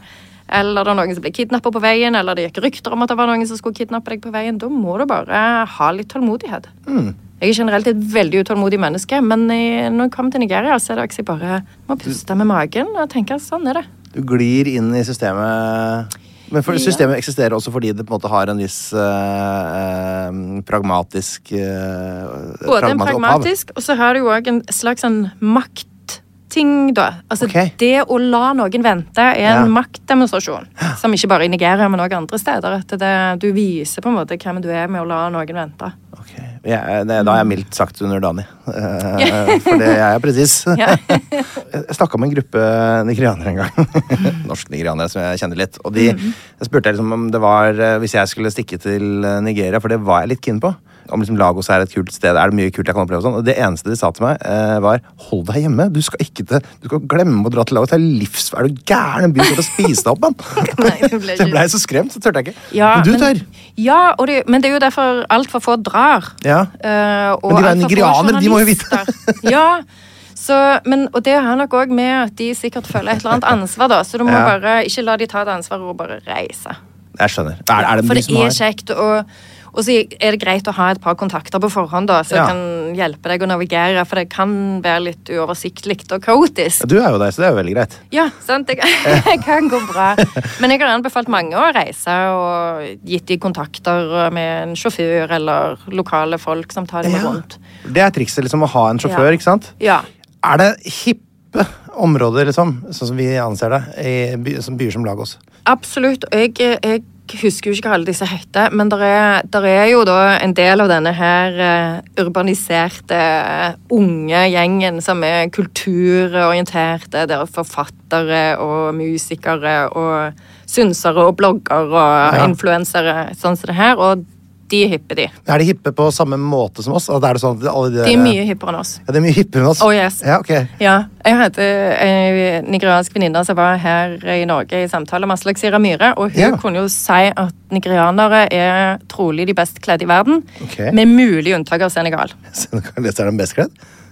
Speaker 2: eller det er noen som ble kidnappa på veien, eller det gikk rykter om at det var noen som skulle kidnappe deg på veien. Da må du bare ha litt tålmodighet.
Speaker 1: Mm.
Speaker 2: Jeg er generelt et veldig utålmodig menneske, men i, når jeg kommer til Nigeria, så er det også jeg bare må puste med magen og tenke sånn er det.
Speaker 1: Du glir inn i systemet. Men for, systemet eksisterer også fordi det på en måte har en viss eh, eh, pragmatisk eh,
Speaker 2: Både en
Speaker 1: opphav.
Speaker 2: pragmatisk, og så har du jo òg en slags sånn maktting, da. Altså,
Speaker 1: Ok.
Speaker 2: det å la noen vente er
Speaker 1: Ja.
Speaker 2: en maktdemonstrasjon. Som ikke bare i Nigeria, men òg andre steder. At det, du viser på en måte hvem du er med å la noen vente.
Speaker 1: Ok. Jeg, det, da er jeg mildt sagt underdanig. Eh, for det er jeg presis.
Speaker 2: Ja.
Speaker 1: Jeg snakka med en gruppe nigerianere en gang. Norske nigerianere som jeg kjenner litt. Og de jeg spurte jeg liksom om det var eh, Hvis jeg skulle stikke til eh, Nigeria, for det var jeg litt keen på. Om liksom Lagos er et kult sted, er det mye kult jeg kan oppleve? Og sånn. Og det eneste de sa til meg, eh, var hold deg hjemme. Du skal ikke til Du skal glemme å dra til Lagos. Det er livs... Er du gæren? En by som skal spise deg opp, mann!
Speaker 2: Nei, det ble
Speaker 1: Så jeg
Speaker 2: ikke-
Speaker 1: blei så skremt, så turte jeg ikke.
Speaker 2: Ja,
Speaker 1: men du tør!
Speaker 2: Ja, og det, men det er jo derfor altfor få drar.
Speaker 1: Ja.
Speaker 2: Eh, og
Speaker 1: Men de er
Speaker 2: altfor få
Speaker 1: nigerianere, de må jo vite.
Speaker 2: journalister. ja, så, men, og det har nok òg med at de sikkert føler et eller annet ansvar, da. Så du må
Speaker 1: Ja.
Speaker 2: bare ikke la de ta det ansvaret og bare reise.
Speaker 1: Jeg skjønner. Er, er det
Speaker 2: For
Speaker 1: du
Speaker 2: det
Speaker 1: som har
Speaker 2: er kjekt, og, og så er det greit å ha et par kontakter på forhånd, da, som
Speaker 1: Ja.
Speaker 2: kan hjelpe deg å navigere, for det kan være litt uoversiktlig og kaotisk.
Speaker 1: Ja, Du er jo der, så det er jo veldig greit.
Speaker 2: Ja, sant? Det kan, det kan gå bra. Men jeg har anbefalt mange å reise og gitt de kontakter med en sjåfør eller lokale folk som tar dem
Speaker 1: Ja.
Speaker 2: rundt.
Speaker 1: Det er trikset, liksom, å ha en sjåfør,
Speaker 2: Ja.
Speaker 1: ikke sant?
Speaker 2: Ja.
Speaker 1: Er det hippe områder, liksom, sånn som vi anser det, i by, som byer som Lagos?
Speaker 2: Absolutt. og Jeg, jeg husker jo ikke hva alle disse heter, men det er, der er jo da en del av denne her eh, urbaniserte eh, unge gjengen som er kulturorienterte. Det er forfattere og musikere og synsere og bloggere og influensere, sånn som det her. Og de er hippe, de.
Speaker 1: Er de hippe på samme måte som oss? Altså, er det sånn at alle de
Speaker 2: De
Speaker 1: der-
Speaker 2: er mye hippere enn oss.
Speaker 1: Ja, de er mye hippere enn oss.
Speaker 2: Oh, yes.
Speaker 1: Ja, ok.
Speaker 2: Ja, Jeg hadde en nigeriansk venninne som var her i Norge i samtale med Aslak Sira Myhre, og hun
Speaker 1: Ja.
Speaker 2: kunne jo si at nigerianere er trolig de best kledde i verden,
Speaker 1: Ok.
Speaker 2: med mulig unntak av Senegal.
Speaker 1: Senegalesere er de best kledd?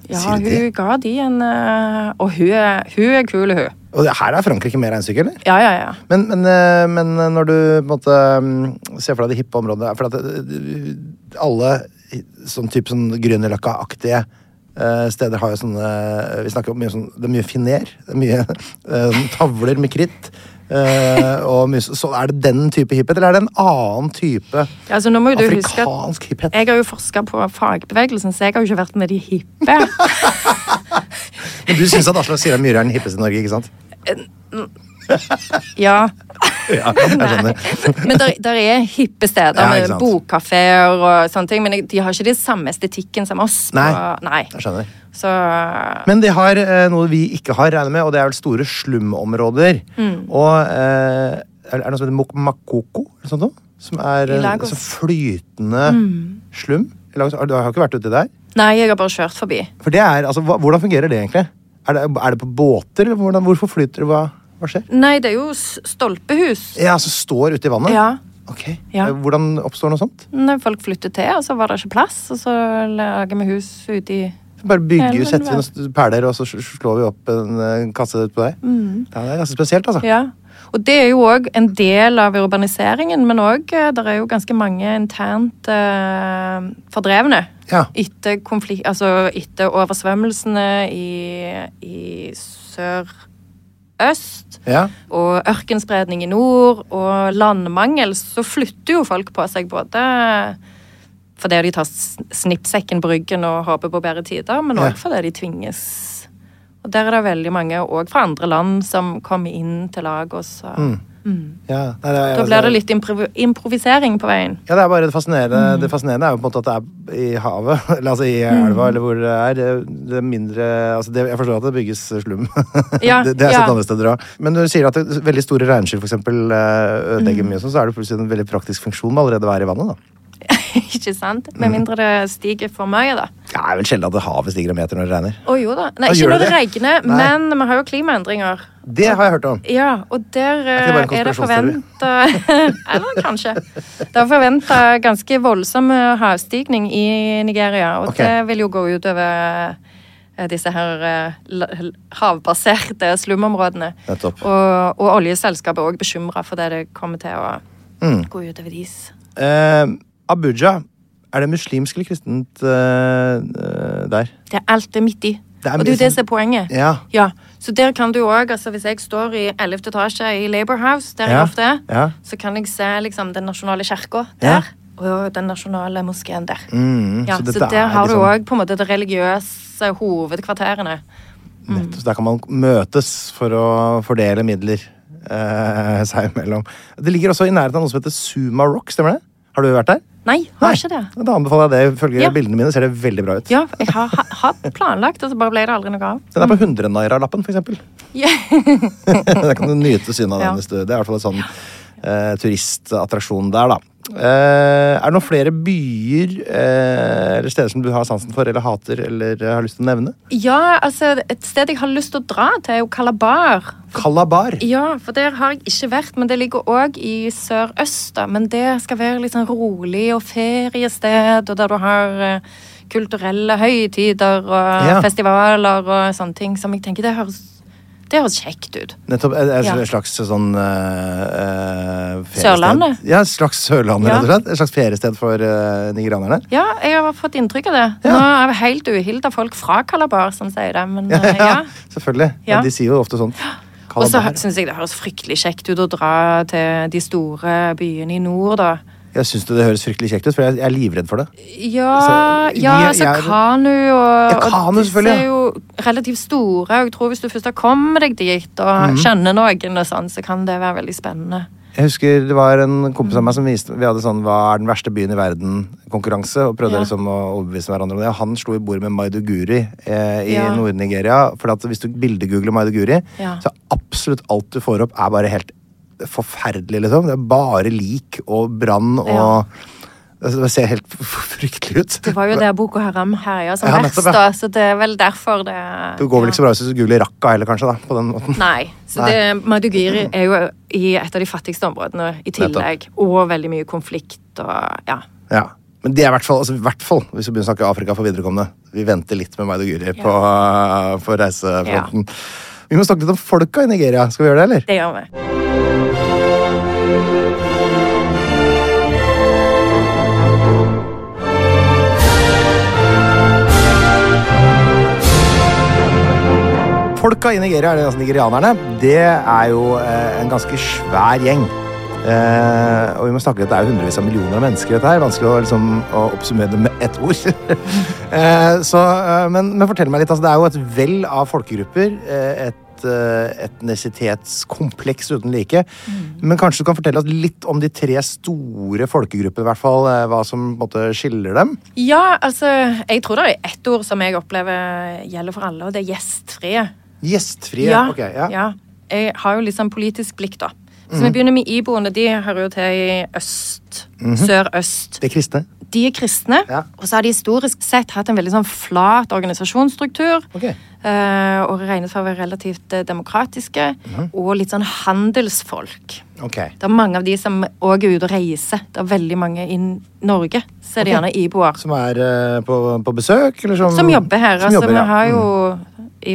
Speaker 2: Ja,
Speaker 1: Sier
Speaker 2: hun
Speaker 1: de det?
Speaker 2: ga de en eh, Og hun er, hun er kul, hun.
Speaker 1: Og det- her er Frankrike mer regnestykke, eller?
Speaker 2: Ja, ja, ja.
Speaker 1: Men, men, eh, men når du på en måte mm, ser for deg de hippe områdene For at eh, alle i- sånn type sånn Grünerløkka-aktige eh, steder har jo sånne eh, Vi snakker om mye sånn Det er mye finer. Det er mye eh, sånn tavler med kritt. eh, og mye, så- så er det den type hipphet, eller er det en annen type
Speaker 2: Ja, Altså, nå må jo du huske at
Speaker 1: afrikansk hipphet?
Speaker 2: jeg har jo forska på fagbevegelsen, så jeg har jo ikke vært med de hippe.
Speaker 1: Men du syns at Aslak Sira Myhre er den hippeste i Norge, ikke sant?
Speaker 2: Ja.
Speaker 1: Ja, jeg skjønner.
Speaker 2: Men der, der er hippe steder
Speaker 1: Ja, ikke
Speaker 2: med
Speaker 1: sant.
Speaker 2: bokkafeer og sånne ting, men jeg- de har ikke den samme estetikken som oss.
Speaker 1: Nei.
Speaker 2: Og, nei.
Speaker 1: Jeg skjønner.
Speaker 2: Så
Speaker 1: Men de har eh, noe vi ikke har, regner jeg med, og det er vel store slumområder.
Speaker 2: Mm.
Speaker 1: Og eh, er er det noe som heter mok- makoko? Eller sånt noe? Som er eh,
Speaker 2: Lagos. Mm.
Speaker 1: så flytende slum? I Lagos- Har Du har ikke vært uti der?
Speaker 2: Nei, jeg har bare kjørt forbi.
Speaker 1: For det er, altså, hva, Hvordan fungerer det egentlig? Er det, er det på båter? eller Hvordan, hvorfor flyter det? Hva, hva skjer?
Speaker 2: Nei, det er jo s- stolpehus.
Speaker 1: Ja, som står ute i vannet?
Speaker 2: Ja.
Speaker 1: Ok.
Speaker 2: Ja.
Speaker 1: Eh, Hvordan oppstår noe sånt?
Speaker 2: Når folk flyttet til, og så var det ikke plass, og så lager vi hus ute i
Speaker 1: Så Bare bygger
Speaker 2: Elven,
Speaker 1: vi, setter vi
Speaker 2: hva?
Speaker 1: noen st- perler, og så sl- sl- slår vi opp en eh, kasse på deg? Ja, det er ganske spesielt, altså.
Speaker 2: Mm. Ja. Og det er jo òg en del av urbaniseringen, men òg det er jo ganske mange internt eh, fordrevne.
Speaker 1: Ja.
Speaker 2: Etter, konflik- altså etter oversvømmelsene i, i sør-øst
Speaker 1: Ja.
Speaker 2: og ørkenspredning i nord og landmangel, så flytter jo folk på seg både fordi de tar s- snippsekken på ryggen og håper på bedre tider, men
Speaker 1: Ja.
Speaker 2: òg fordi de tvinges. Og der er det veldig mange òg fra andre land som kommer inn til Lagos. og
Speaker 1: Mm. ja. Nei, det er-
Speaker 2: Da
Speaker 1: altså-
Speaker 2: blir det litt improv improvisering på veien.
Speaker 1: Ja, det er bare det fascinerende. Det fascinerende er jo på en måte at det er i havet, eller altså i elva, eller hvor det er. Det er mindre altså det, Jeg forstår at det bygges slum.
Speaker 2: Ja,
Speaker 1: det, det er
Speaker 2: ja.
Speaker 1: sett andre steder òg. Men når du sier at det, veldig store regnskyll f.eks. ødelegger mye, og sånn, så er det plutselig en veldig praktisk funksjon med allerede å være i vannet, da.
Speaker 2: Ikke sant?
Speaker 1: Mm.
Speaker 2: Med mindre det stiger for mye, da.
Speaker 1: Ja, det er vel sjelden at det havet stiger en meter når det regner.
Speaker 2: Å jo da.
Speaker 1: Ja,
Speaker 2: Nei, ikke
Speaker 1: Ah, gjør
Speaker 2: når det
Speaker 1: det det?
Speaker 2: regner,
Speaker 1: Nei.
Speaker 2: men vi har jo klimaendringer.
Speaker 1: Det har jeg hørt om.
Speaker 2: Ja, og der
Speaker 1: ikke
Speaker 2: eh,
Speaker 1: bare en
Speaker 2: er det
Speaker 1: konspirasjonsteori?
Speaker 2: forventa Eller kanskje. Det er forventa ganske voldsom eh, havstigning i Nigeria, og
Speaker 1: Ok.
Speaker 2: det vil jo gå utover eh, disse her eh, la- l- havbaserte slumområdene.
Speaker 1: Nettopp.
Speaker 2: Og, og oljeselskapet er òg bekymra for det det kommer til å
Speaker 1: Mm.
Speaker 2: gå utover deres.
Speaker 1: Eh, Abuja, er det muslimsk eller kristent eh, eh, der?
Speaker 2: Det er alt det er midt i.
Speaker 1: Det er
Speaker 2: og det er jo det
Speaker 1: liksom-
Speaker 2: som er poenget.
Speaker 1: Ja.
Speaker 2: Så der kan du òg, altså hvis jeg står i 11. etasje i Labour House, der
Speaker 1: Ja,
Speaker 2: jeg ofte er,
Speaker 1: ja.
Speaker 2: så kan jeg se liksom den nasjonale kirka
Speaker 1: Ja. Mm,
Speaker 2: der. Og den nasjonale moskeen der. ja,
Speaker 1: så
Speaker 2: så,
Speaker 1: dette er
Speaker 2: der har du
Speaker 1: liksom-
Speaker 2: òg på en måte de religiøse hovedkvarterene.
Speaker 1: Nettopp, så der kan man møtes for å fordele midler eh, seg imellom. Det ligger også i nærheten av noe som heter Suma Rock, stemmer det? Har du vært der?
Speaker 2: Nei, har ikke det.
Speaker 1: Da anbefaler jeg det. Ifølge
Speaker 2: Ja.
Speaker 1: bildene mine ser det veldig bra ut.
Speaker 2: Ja, jeg har ha- hatt planlagt, og så bare ble det aldri noe av.
Speaker 1: Den er på 100 Naira-lappen, for eksempel.
Speaker 2: Ja.
Speaker 1: der kan du nyte synet av den
Speaker 2: Ja.
Speaker 1: hvis du Det er i hvert fall en sånn eh, turistattraksjon der, da. Eh, er det noen flere byer eh, eller steder som du har sansen for eller hater eller eh, har lyst til å nevne?
Speaker 2: ja, altså, et sted jeg har lyst til å dra til, er jo Kalabar.
Speaker 1: Kalabar.
Speaker 2: Ja, for der har jeg ikke vært, men det ligger òg i sørøst. da. Men det skal være litt sånn rolig og feriested, og der du har eh, kulturelle høytider og
Speaker 1: Ja.
Speaker 2: festivaler og sånne ting som jeg tenker det høres, det høres kjekt ut.
Speaker 1: Nettopp. Et, et
Speaker 2: Ja.
Speaker 1: slags sånn eh, eh, feriested.
Speaker 2: Sørlandet?
Speaker 1: Ja, et slags Sørlandet,
Speaker 2: Ja.
Speaker 1: rett og slett. Et slags feriested for uh, nigerianerne.
Speaker 2: Ja, jeg har fått inntrykk av det.
Speaker 1: Ja.
Speaker 2: Nå er det helt uhilda folk fra Kalabar som sier det, men eh, ja.
Speaker 1: Selvfølgelig. Ja.
Speaker 2: Ja.
Speaker 1: de sier jo ofte sånn.
Speaker 2: Og så
Speaker 1: Kalabar.
Speaker 2: syns jeg det høres fryktelig kjekt ut å dra til de store byene i nord, da.
Speaker 1: Jeg syns det høres fryktelig kjekt ut, for jeg, jeg er livredd for det.
Speaker 2: Ja,
Speaker 1: Så-
Speaker 2: ja
Speaker 1: vi er-
Speaker 2: altså
Speaker 1: jeg er-
Speaker 2: kanu og,
Speaker 1: Ja, kanu,
Speaker 2: og disse
Speaker 1: selvfølgelig,
Speaker 2: er jo relativt store. og Jeg tror Hvis du først har kommet deg dit og
Speaker 1: Mhm.
Speaker 2: kjenner noen, og sånn, så kan det være veldig spennende.
Speaker 1: Jeg husker Det var en kompis av meg som viste Vi hadde sånn Hva er den verste byen i verden-konkurranse, og prøvde
Speaker 2: Ja.
Speaker 1: liksom å overbevise hverandre om det. Og han slo i bord med Maiduguri eh, i
Speaker 2: Ja.
Speaker 1: Nord-Nigeria. For at hvis du bildegoogler Maiduguri,
Speaker 2: Ja.
Speaker 1: så er absolutt alt du får opp, er bare helt forferdelig, liksom. Det er bare lik og brann og
Speaker 2: Ja.
Speaker 1: altså, Det ser helt f- f- fryktelig ut.
Speaker 2: Det var jo der Boko Haram herja som
Speaker 1: Ja,
Speaker 2: verst,
Speaker 1: nettopp, ja.
Speaker 2: da, så det er vel derfor det
Speaker 1: Det går vel ikke så bra hvis du googler Raqqa heller, kanskje, da, på den måten.
Speaker 2: Nei. Så
Speaker 1: Nei.
Speaker 2: det, Madugiri er jo i et av de fattigste områdene i tillegg. Og veldig mye konflikt og ja.
Speaker 1: Ja. Men det er i hvert fall, altså, i hvert fall hvis vi begynner å snakke Afrika for viderekomne. Vi venter litt med Maiduguri på, eh, på reisefronten. Vi må snakke litt om folka i Nigeria. Skal vi gjøre det, eller?
Speaker 2: Det gjør vi.
Speaker 1: Folka i Nigeria, eller altså nigerianerne, det er jo eh, en ganske svær gjeng. Eh, og vi må snakke litt, Det er jo hundrevis av millioner av mennesker. dette her, Vanskelig å, liksom, å oppsummere det med ett ord. eh, så, eh, men, men fortell meg litt. altså Det er jo et vell av folkegrupper. Eh, et et eh, etnisitetskompleks uten like. Men kanskje du kan fortelle oss litt om de tre store folkegruppene, i hvert fall. eh, Hva som på en måte skiller dem.
Speaker 2: Ja, altså, jeg tror det er ett ord som jeg opplever gjelder for alle, og det er gjestfrie.
Speaker 1: Gjestfrie.
Speaker 2: Ja,
Speaker 1: ok, ja. Mhm.
Speaker 2: ja. Jeg har jo litt sånn politisk blikk, da. Så vi begynner med iboende. De hører jo til i øst. Sør-øst.
Speaker 1: De kristne.
Speaker 2: De er kristne,
Speaker 1: Mhm. Ja.
Speaker 2: og så har de historisk sett hatt en veldig sånn flat organisasjonsstruktur.
Speaker 1: Ok.
Speaker 2: eh, Og regnet for å være relativt eh, demokratiske.
Speaker 1: Mhm.
Speaker 2: Og litt sånn handelsfolk.
Speaker 1: Ok.
Speaker 2: Det er mange av de som òg er ute og reiser. Det er veldig mange i Norge, så er det gjerne iboer.
Speaker 1: Som er eh, på, på besøk, eller som
Speaker 2: Som jobber her.
Speaker 1: som
Speaker 2: altså,
Speaker 1: jobber,
Speaker 2: vi
Speaker 1: ja. Mm.
Speaker 2: har jo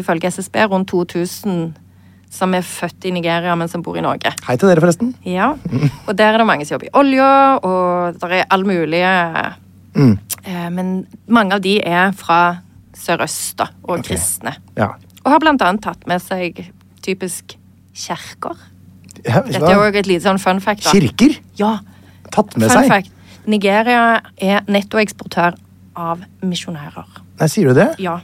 Speaker 2: ifølge SSB rundt 2000 som er født i Nigeria, men som bor i Norge.
Speaker 1: Mm. Hei til dere, forresten.
Speaker 2: Ja, Og der er det mange som jobber i olja, og der er all mulige
Speaker 1: Mm.
Speaker 2: Eh, Men mange av de er fra sørøst da, og kristne.
Speaker 1: Ja.
Speaker 2: Og har blant annet tatt med seg typisk kjerker.
Speaker 1: Ja,
Speaker 2: Dette er òg et lite sånn fun fact. da.
Speaker 1: Kirker
Speaker 2: Ja,
Speaker 1: tatt med
Speaker 2: fun
Speaker 1: seg?
Speaker 2: fact. Nigeria er nettoeksportør av misjonærer.
Speaker 1: Nei, sier du det?
Speaker 2: Ja.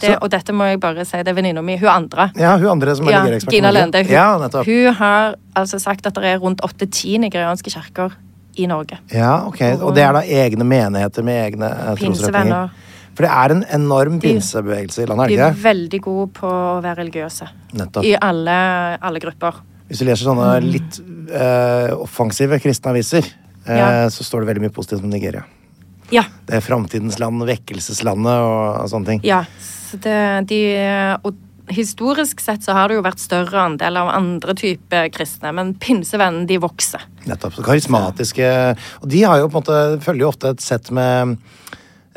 Speaker 2: Det, og dette må jeg bare si, det er venninna mi, hun andre.
Speaker 1: Ja, hun andre som er
Speaker 2: Ja,
Speaker 1: nigererekspert.
Speaker 2: Gina Lende. Hun,
Speaker 1: Ja, nettopp.
Speaker 2: hun har altså sagt at det er rundt 8-10 nigerianske kirker i Norge.
Speaker 1: Ja, ok. Og det er da egne menigheter med egne eh,
Speaker 2: Pinsevenner.
Speaker 1: trosretninger? For det er en enorm pinsebevegelse i landet,
Speaker 2: De
Speaker 1: er
Speaker 2: er
Speaker 1: det ikke?
Speaker 2: veldig gode på å være religiøse.
Speaker 1: Nettopp.
Speaker 2: I alle, alle grupper.
Speaker 1: det? Hvis du leser sånne litt eh, offensive kristne aviser, eh,
Speaker 2: Ja.
Speaker 1: så står det veldig mye positivt om Nigeria.
Speaker 2: Ja.
Speaker 1: Det er framtidens land, vekkelseslandet og sånne ting.
Speaker 2: ja. Så det, de, og historisk sett så har det jo vært større andel av andre typer kristne, men pinsevennen, de vokser.
Speaker 1: Nettopp. Så karismatiske Og de har jo på en måte, følger jo ofte et sett med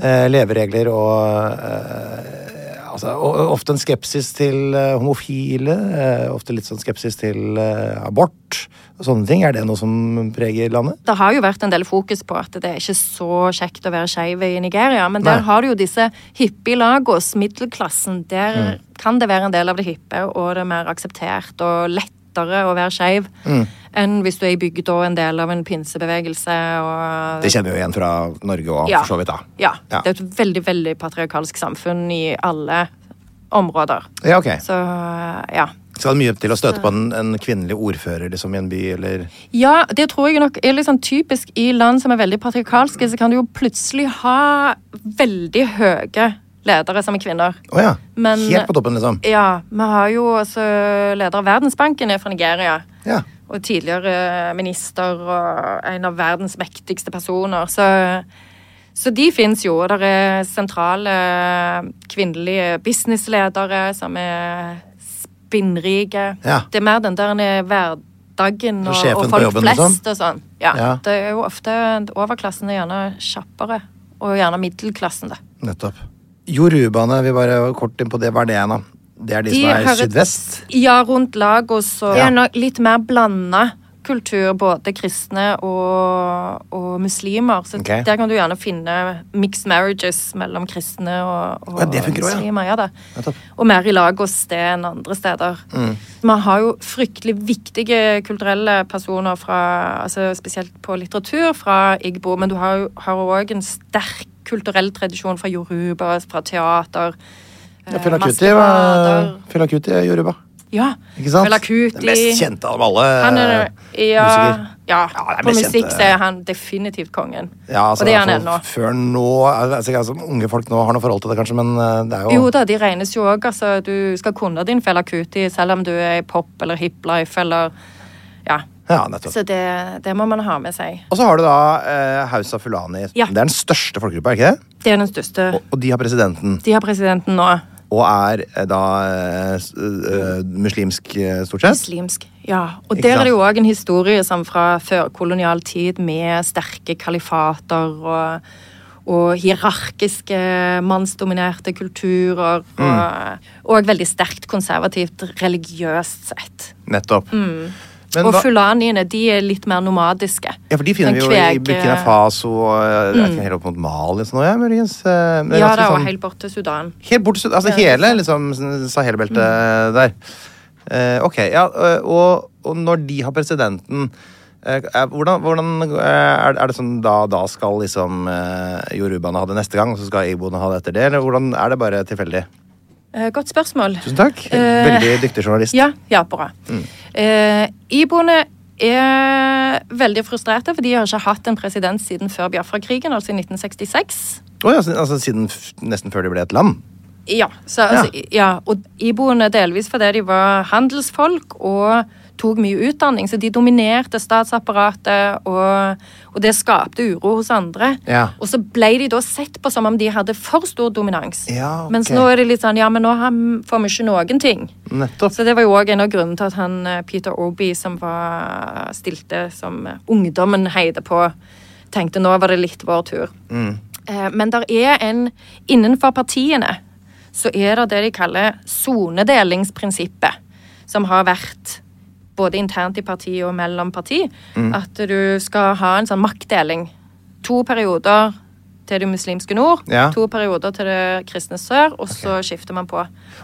Speaker 1: eh, leveregler og eh, altså, og, og ofte en skepsis til eh, homofile. Eh, ofte litt sånn skepsis til eh, abort og sånne ting. Er det noe som preger landet?
Speaker 2: Det har jo vært en del fokus på at det er ikke så kjekt å være skeiv i Nigeria, men der
Speaker 1: Nei.
Speaker 2: har du jo disse hippielagos, middelklassen. Der
Speaker 1: Mm.
Speaker 2: kan det være en del av det hippe, og det er mer akseptert og lettere å være skeiv
Speaker 1: Mm.
Speaker 2: enn hvis du er i bygda og en del av en pinsebevegelse og
Speaker 1: Det kjenner vi jo igjen fra Norge òg,
Speaker 2: Ja.
Speaker 1: for så vidt. da.
Speaker 2: Ja.
Speaker 1: Ja.
Speaker 2: Det er et veldig, veldig patriarkalsk samfunn i alle områder.
Speaker 1: Ja, ok.
Speaker 2: Så ja.
Speaker 1: Skal det mye til å støte på en, en kvinnelig ordfører liksom, i en by, eller
Speaker 2: Ja, det tror jeg nok er litt sånn typisk i land som er veldig patriarkalske, så kan du jo plutselig ha veldig høye ledere som er kvinner.
Speaker 1: Å ja.
Speaker 2: Men-
Speaker 1: Helt på toppen, liksom.
Speaker 2: Ja, vi har jo altså leder av Verdensbanken er fra Nigeria.
Speaker 1: Ja.
Speaker 2: Og tidligere minister og en av verdens mektigste personer. Så, så de fins jo. Og det er sentrale kvinnelige businessledere som er spinnrike.
Speaker 1: Ja.
Speaker 2: Det er mer den der hverdagen og,
Speaker 1: sjefen
Speaker 2: og
Speaker 1: på
Speaker 2: folk
Speaker 1: jobben,
Speaker 2: flest
Speaker 1: liksom?
Speaker 2: og sånn. Ja.
Speaker 1: Ja.
Speaker 2: Det er jo ofte Overklassen er gjerne kjappere. Og gjerne middelklassen, da.
Speaker 1: Nettopp. Jorubane, vi bare kort inn på det. Hva er det igjen, da? Det er de, som er
Speaker 2: hører-
Speaker 1: sydvest?
Speaker 2: Ja, rundt Lagos. Og
Speaker 1: Ja.
Speaker 2: Det er nok litt mer blanda kultur, både kristne og, og muslimer. Så
Speaker 1: Ok.
Speaker 2: der kan du gjerne finne mixed marriages mellom kristne og, og
Speaker 1: Ja, det funker også, ja. Mm.
Speaker 2: muslimer. Ja. da.
Speaker 1: Nettopp.
Speaker 2: Og mer i Lagos det enn andre steder. Man har jo fryktelig viktige kulturelle personer fra altså Spesielt på litteratur fra Igbo, men du har jo- har òg en sterk kulturell tradisjon fra yoruba, fra teater.
Speaker 1: Ja,
Speaker 2: eh,
Speaker 1: Filakuti var
Speaker 2: maskeradar.
Speaker 1: Filakuti er Yoruba.
Speaker 2: Ja.
Speaker 1: Ikke sant?
Speaker 2: Felakuti.
Speaker 1: Den mest kjente av alle
Speaker 2: Han er, ja,
Speaker 1: musiker. Ja,
Speaker 2: ja,
Speaker 1: det er
Speaker 2: på
Speaker 1: mest
Speaker 2: musikk
Speaker 1: kjente.
Speaker 2: så er han definitivt kongen.
Speaker 1: Ja, altså,
Speaker 2: og det er han
Speaker 1: for-
Speaker 2: ennå.
Speaker 1: Før nå altså, altså, Unge folk nå har noe forhold til det, kanskje, men eh, det er jo,
Speaker 2: Jo da, de regnes jo òg. Altså, du skal kunne din Felakuti selv om du er i pop eller hiplife eller Ja.
Speaker 1: Ja, nettopp.
Speaker 2: Så det, det må man ha med seg.
Speaker 1: Og så har du da eh, Hausa Fulani.
Speaker 2: Ja.
Speaker 1: Det er den største folkegruppa, er ikke det?
Speaker 2: Det er den største.
Speaker 1: Og de har presidenten,
Speaker 2: De har presidenten nå.
Speaker 1: og er eh, da eh, s- eh, muslimsk, eh, stort sett.
Speaker 2: Muslimsk. Ja. Og
Speaker 1: Ikke
Speaker 2: der er
Speaker 1: sant?
Speaker 2: det jo òg en historie som fra førkolonial tid med sterke kalifater og, og hierarkiske, mannsdominerte kulturer.
Speaker 1: Mm.
Speaker 2: Og, og veldig sterkt konservativt religiøst sett.
Speaker 1: Nettopp. Men
Speaker 2: Mm. Og
Speaker 1: hva-
Speaker 2: fulaniene de er litt mer nomadiske.
Speaker 1: Ja, for de finner vi jo
Speaker 2: Sånn
Speaker 1: i
Speaker 2: kveg- mm.
Speaker 1: Burkina Faso og eh, jeg vet ikke, helt opp mot Mali og sånn, ja, muligens. eh, men
Speaker 2: Ja,
Speaker 1: ganske
Speaker 2: det er jo
Speaker 1: sånn-
Speaker 2: helt bort til Sudan.
Speaker 1: Helt bort, til syd- altså hele liksom, Sahel-beltet
Speaker 2: Mm.
Speaker 1: der. Eh, ok, ja, eh, og, og når de har presidenten eh, er- hvordan, hvordan eh, er, er det sånn da, da skal liksom eh, Yorubaene ha det neste gang, og så skal Igboene ha det etter det? Eller hvordan er det bare tilfeldig?
Speaker 2: Eh, Godt spørsmål.
Speaker 1: Tusen takk.
Speaker 2: Eh,
Speaker 1: Veldig dyktig journalist.
Speaker 2: Ja, ja, bra.
Speaker 1: Mm.
Speaker 2: Eh, iboende er veldig frustrerte, for de har ikke hatt en president siden før Biafra-krigen, altså i 1966.
Speaker 1: Å ja, så- altså, siden f nesten før de ble et land.
Speaker 2: Ja, så, altså, ja. og iboende delvis fordi de var handelsfolk og tok mye utdanning, så de dominerte statsapparatet, og, og det skapte uro hos andre.
Speaker 1: Ja.
Speaker 2: Og så ble de da sett på som om de hadde for stor dominans.
Speaker 1: Ja, ok.
Speaker 2: Mens nå er det litt sånn, ja, men nå har- får vi ikke noen ting.
Speaker 1: Nettopp.
Speaker 2: Så det var jo òg en av grunnene til at han eh, Peter Obi, som var stilte som eh, ungdommen heide på, tenkte nå var det litt vår tur.
Speaker 1: Mm.
Speaker 2: Eh, Men der er en Innenfor partiene så er det det de kaller sonedelingsprinsippet, som har vært både internt i parti og mellom parti,
Speaker 1: Mm.
Speaker 2: at du skal ha en sånn maktdeling. To perioder til det muslimske nord,
Speaker 1: Ja.
Speaker 2: to perioder til det kristne sør, og så skifter man på.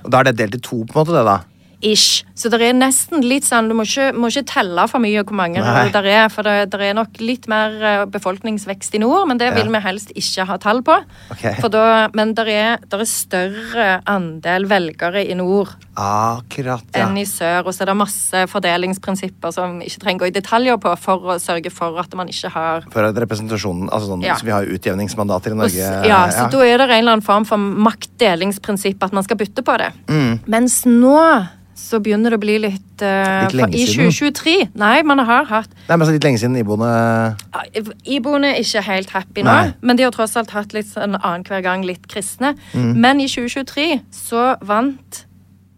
Speaker 1: Og da er det delt i to, på en måte, det, da.
Speaker 2: Ish. Så det er nesten litt sånn Du må ikke, må ikke telle for mye hvor mange
Speaker 1: Nei.
Speaker 2: det er, for det, der er nok litt mer eh, befolkningsvekst i nord, men det vil vi helst ikke ha tall på.
Speaker 1: Ok.
Speaker 2: For da, men det er, der er større andel velgere i nord
Speaker 1: Akkurat, ja.
Speaker 2: enn i sør, og så er det masse fordelingsprinsipper som vi ikke trenger å gå i detaljer på for å sørge for at man ikke har
Speaker 1: For at representasjonen altså sånn,
Speaker 2: Ja.
Speaker 1: Så vi har jo utjevningsmandater i Norge. eh,
Speaker 2: Og s- Ja, så da er det en eller annen form for maktdelingsprinsipp at man skal bytte på det.
Speaker 1: Mm.
Speaker 2: Mens nå så begynner det å bli litt, eh,
Speaker 1: Litt lenge
Speaker 2: for I
Speaker 1: siden.
Speaker 2: 2023 Nei, man har hatt
Speaker 1: Nei, men så litt lenge siden iboende
Speaker 2: ja, Iboende er ikke helt happy nå,
Speaker 1: Nei.
Speaker 2: men de har tross alt hatt litt sånn annenhver gang litt kristne.
Speaker 1: Mm.
Speaker 2: Men i 2023 så vant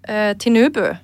Speaker 2: eh, Tinubu,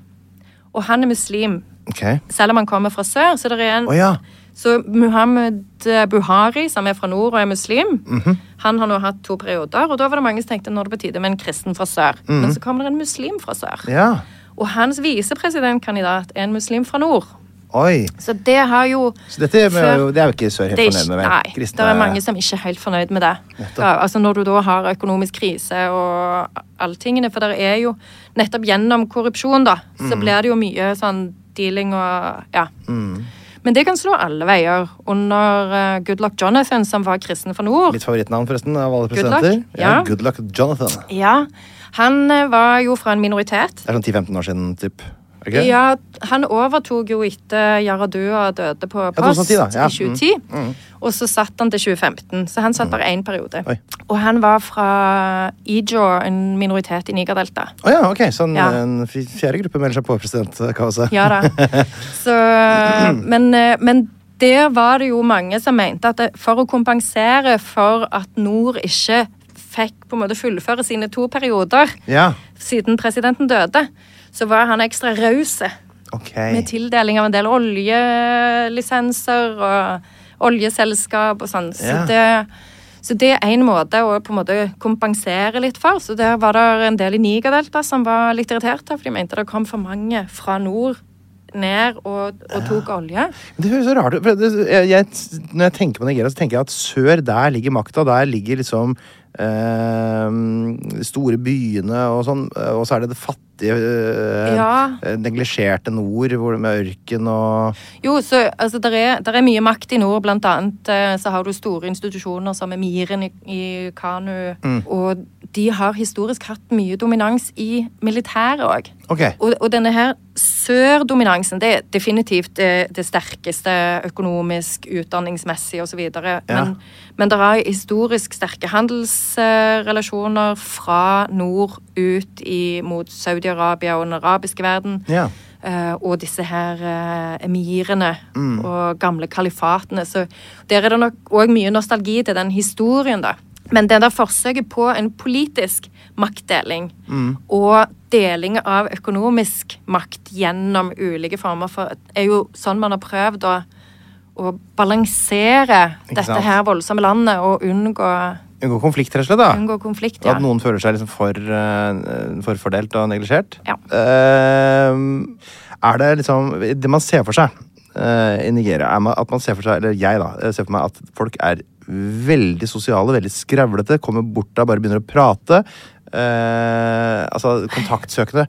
Speaker 2: og han er muslim.
Speaker 1: Ok.
Speaker 2: Selv om han kommer fra sør, så det er en
Speaker 1: Å ja.
Speaker 2: så Muhammed eh, Buhari, som er fra nord og er muslim,
Speaker 1: Mhm.
Speaker 2: han har nå hatt to perioder. Og da var det mange som tenkte nå er det på tide med en kristen fra sør. Men så kommer det en muslim fra sør.
Speaker 1: Mhm. Ja.
Speaker 2: Og hans visepresidentkandidat er en muslim fra nord.
Speaker 1: Oi.
Speaker 2: Så det har jo
Speaker 1: Så dette er jo,
Speaker 2: Før-
Speaker 1: det er jo ikke sør helt
Speaker 2: det er
Speaker 1: fornøyd
Speaker 2: ikke,
Speaker 1: med.
Speaker 2: nei,
Speaker 1: Kristne-
Speaker 2: det er mange som ikke er helt fornøyd med det. Ja, altså Når du da har økonomisk krise og alltingene, for det er jo nettopp gjennom korrupsjon, da,
Speaker 1: Mm.
Speaker 2: så blir det jo mye sånn dealing og Ja.
Speaker 1: Mm.
Speaker 2: Men det kan slå alle veier. Under eh, Good Luck Jonathan, som var kristen fra nord,
Speaker 1: Mitt favorittnavn, forresten, av alle
Speaker 2: Good luck.
Speaker 1: presidenter.
Speaker 2: Ja.
Speaker 1: Good luck Jonathan.
Speaker 2: ja, han eh, var jo fra en minoritet.
Speaker 1: Det er sånn 10-15 år siden, typ. Er det ikke det?
Speaker 2: Ja, han overtok jo etter Yaradua døde på post
Speaker 1: 2010 da, ja. Mm.
Speaker 2: i 2010. Og så satt han til 2015, så han satt bare én periode.
Speaker 1: Oi.
Speaker 2: Og han var fra Ijo, en minoritet i Nigerdelta.
Speaker 1: Å ja, ok. Så en,
Speaker 2: Ja.
Speaker 1: en f- fjerde gruppe melder seg på presidentkaoset.
Speaker 2: Ja da. Så, men, eh, men der var det jo mange som mente at det, for å kompensere for at Nord ikke fikk på en måte fullføre sine to perioder
Speaker 1: Ja.
Speaker 2: siden presidenten døde, så var han ekstra raus.
Speaker 1: Ok.
Speaker 2: Med tildeling av en del oljelisenser og oljeselskap og sånn. Så,
Speaker 1: Ja.
Speaker 2: det, så det er én måte å på en måte kompensere litt for. Så der var det en del i Nigerdelta som var litt irriterte, for de mente det kom for mange fra nord ned og, og tok olje.
Speaker 1: Det høres så rart ut. for det- Jeg, jeg, når jeg tenker på Nigeria, så tenker jeg at sør, der ligger makta. Der ligger liksom eh, de store byene og sånn. eh, Og så er det det fattige, eh,
Speaker 2: Ja.
Speaker 1: eh, neglisjerte nord hvor, med ørken og
Speaker 2: Jo, så altså, der er, der er mye makt i nord, blant annet eh, så har du store institusjoner som Emiren i, i Kanu, og de har historisk hatt mye dominans i militæret òg.
Speaker 1: Ok.
Speaker 2: Og, og denne her sørdominansen, det er definitivt det, det sterkeste økonomisk, utdanningsmessig osv. videre.
Speaker 1: Ja.
Speaker 2: Men, men det er historisk sterke handelsrelasjoner fra nord ut i, mot Saudi-Arabia og den arabiske verden.
Speaker 1: Ja.
Speaker 2: Eh, og disse her eh, emirene
Speaker 1: Mm.
Speaker 2: og gamle kalifatene. Så der er det nok òg mye nostalgi til den historien, da. Men det der forsøket på en politisk maktdeling
Speaker 1: Mm.
Speaker 2: og deling av økonomisk makt gjennom ulike former for er jo sånn man har prøvd å, å balansere
Speaker 1: Ikke
Speaker 2: dette
Speaker 1: sant?
Speaker 2: her voldsomme landet og unngå,
Speaker 1: Unngå konflikt, rett og slett. da.
Speaker 2: unngå konflikt.
Speaker 1: Og At noen føler seg liksom for, eh, forfordelt og neglisjert.
Speaker 2: Ja.
Speaker 1: Eh, er det liksom Det man ser for seg eh, i Nigeria, er man, at man ser for seg Eller jeg, da. eh, Ser for meg at folk er veldig sosiale, veldig skravlete. Kommer bort da, bare begynner å prate. eh, altså kontaktsøkende.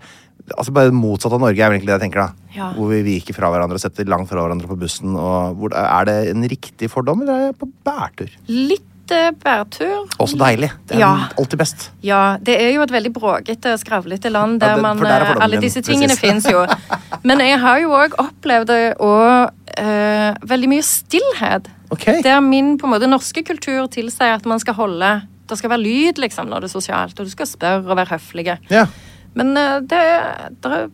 Speaker 1: Altså Bare motsatt av Norge, er vel egentlig det jeg tenker. da
Speaker 2: Ja.
Speaker 1: Hvor vi viker fra hverandre og setter langt fra hverandre på bussen. Og hvor, er det en riktig fordom, eller er jeg på bærtur?
Speaker 2: Litt litt eh, bærtur.
Speaker 1: Også deilig. Det er
Speaker 2: Ja.
Speaker 1: alltid best.
Speaker 2: Ja, det er jo et veldig bråkete, skravlete land
Speaker 1: Ja,
Speaker 2: der
Speaker 1: det-
Speaker 2: man
Speaker 1: for der er
Speaker 2: eh,
Speaker 1: fordommen
Speaker 2: Alle
Speaker 1: din,
Speaker 2: disse tingene
Speaker 1: presis.
Speaker 2: fins jo. Men jeg har jo òg opplevd det og eh, veldig mye stillhet.
Speaker 1: Ok.
Speaker 2: Der min på en måte norske kultur tilsier at man skal holde Det skal være lyd liksom når det er sosialt, og du skal spørre og være høflige.
Speaker 1: Ja.
Speaker 2: Men eh, det, det er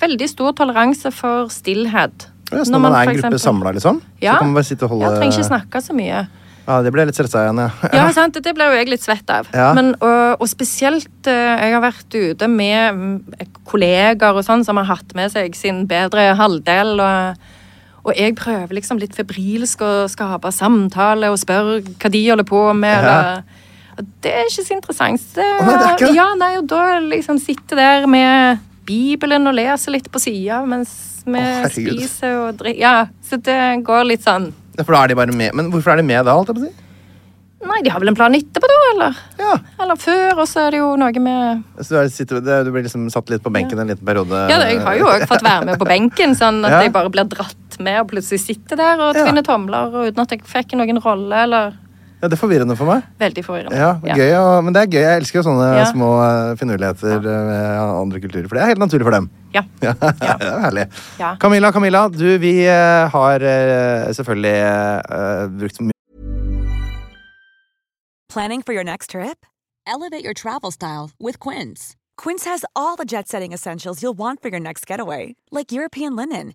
Speaker 2: veldig stor toleranse for stillhet.
Speaker 1: Ja, så når man er en
Speaker 2: for
Speaker 1: gruppe
Speaker 2: eksempel-
Speaker 1: samla, liksom,
Speaker 2: Ja.
Speaker 1: så kan man bare sitte og holde
Speaker 2: Ja, trenger ikke snakke så mye.
Speaker 1: Ja, det ble jeg litt stressa igjen, ja.
Speaker 2: Ja, sant? Det blir jo jeg litt svett av.
Speaker 1: Ja.
Speaker 2: Men, og, og spesielt eh, Jeg har vært ute med mm, kolleger og sånn som har hatt med seg sin bedre halvdel. og... Og jeg prøver liksom litt febrilsk å skape samtale og spørre hva de holder på med. Eller, og det er ikke så interessant. Det,
Speaker 1: Å, nei, det er ikke det.
Speaker 2: Ja, nei, og da liksom sitte der med Bibelen og lese litt på sida mens vi
Speaker 1: Å, herregud.
Speaker 2: spiser og drikker. Ja, så det går litt sånn
Speaker 1: Ja, For da er de bare med. Men hvorfor er de med da, holdt jeg på å si?
Speaker 2: Nei, de har vel en plan etterpå, da, eller?
Speaker 1: Ja.
Speaker 2: Eller før, og så er det jo noe med
Speaker 1: Så du, er, sitter, det- du blir liksom satt litt på benken en liten periode?
Speaker 2: Ja, jeg har jo òg fått være med på benken, sånn at
Speaker 1: Ja.
Speaker 2: jeg bare blir dratt med og plutselig sitter der og
Speaker 1: Ja.
Speaker 2: tvinner tomler og uten at jeg fikk noen rolle, eller
Speaker 1: Ja, det er forvirrende for meg.
Speaker 2: Veldig forvirrende.
Speaker 1: Ja, gøy, ja. Men det er gøy. Jeg elsker jo sånne
Speaker 2: Ja.
Speaker 1: små eh, finurligheter eh, med andre kulturer. For det er helt naturlig for dem.
Speaker 2: Ja.
Speaker 1: Ja, det er herlig.
Speaker 2: Ja.
Speaker 1: Camilla, Camilla, du, vi eh, har eh, selvfølgelig eh, brukt mye
Speaker 4: Planning for your next trip? Elevate your travel style with Quince. Quince has all the jet setting essentials you'll want for your next getaway, like European linen,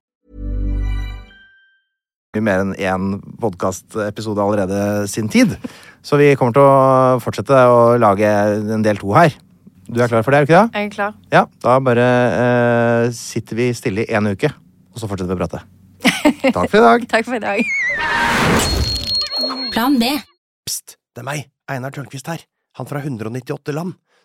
Speaker 1: mer enn én podkastepisode allerede sin tid. Så vi kommer til å fortsette å lage en del to her. Du er klar for det, er du ikke det?
Speaker 2: Jeg er klar.
Speaker 1: Ja, da bare eh, sitter vi stille i en uke, og så fortsetter vi å prate. Takk for i dag.
Speaker 2: Takk for i dag.
Speaker 5: Plan B.
Speaker 1: Pst, det er meg, Einar Tørnquist her, han fra 198 land.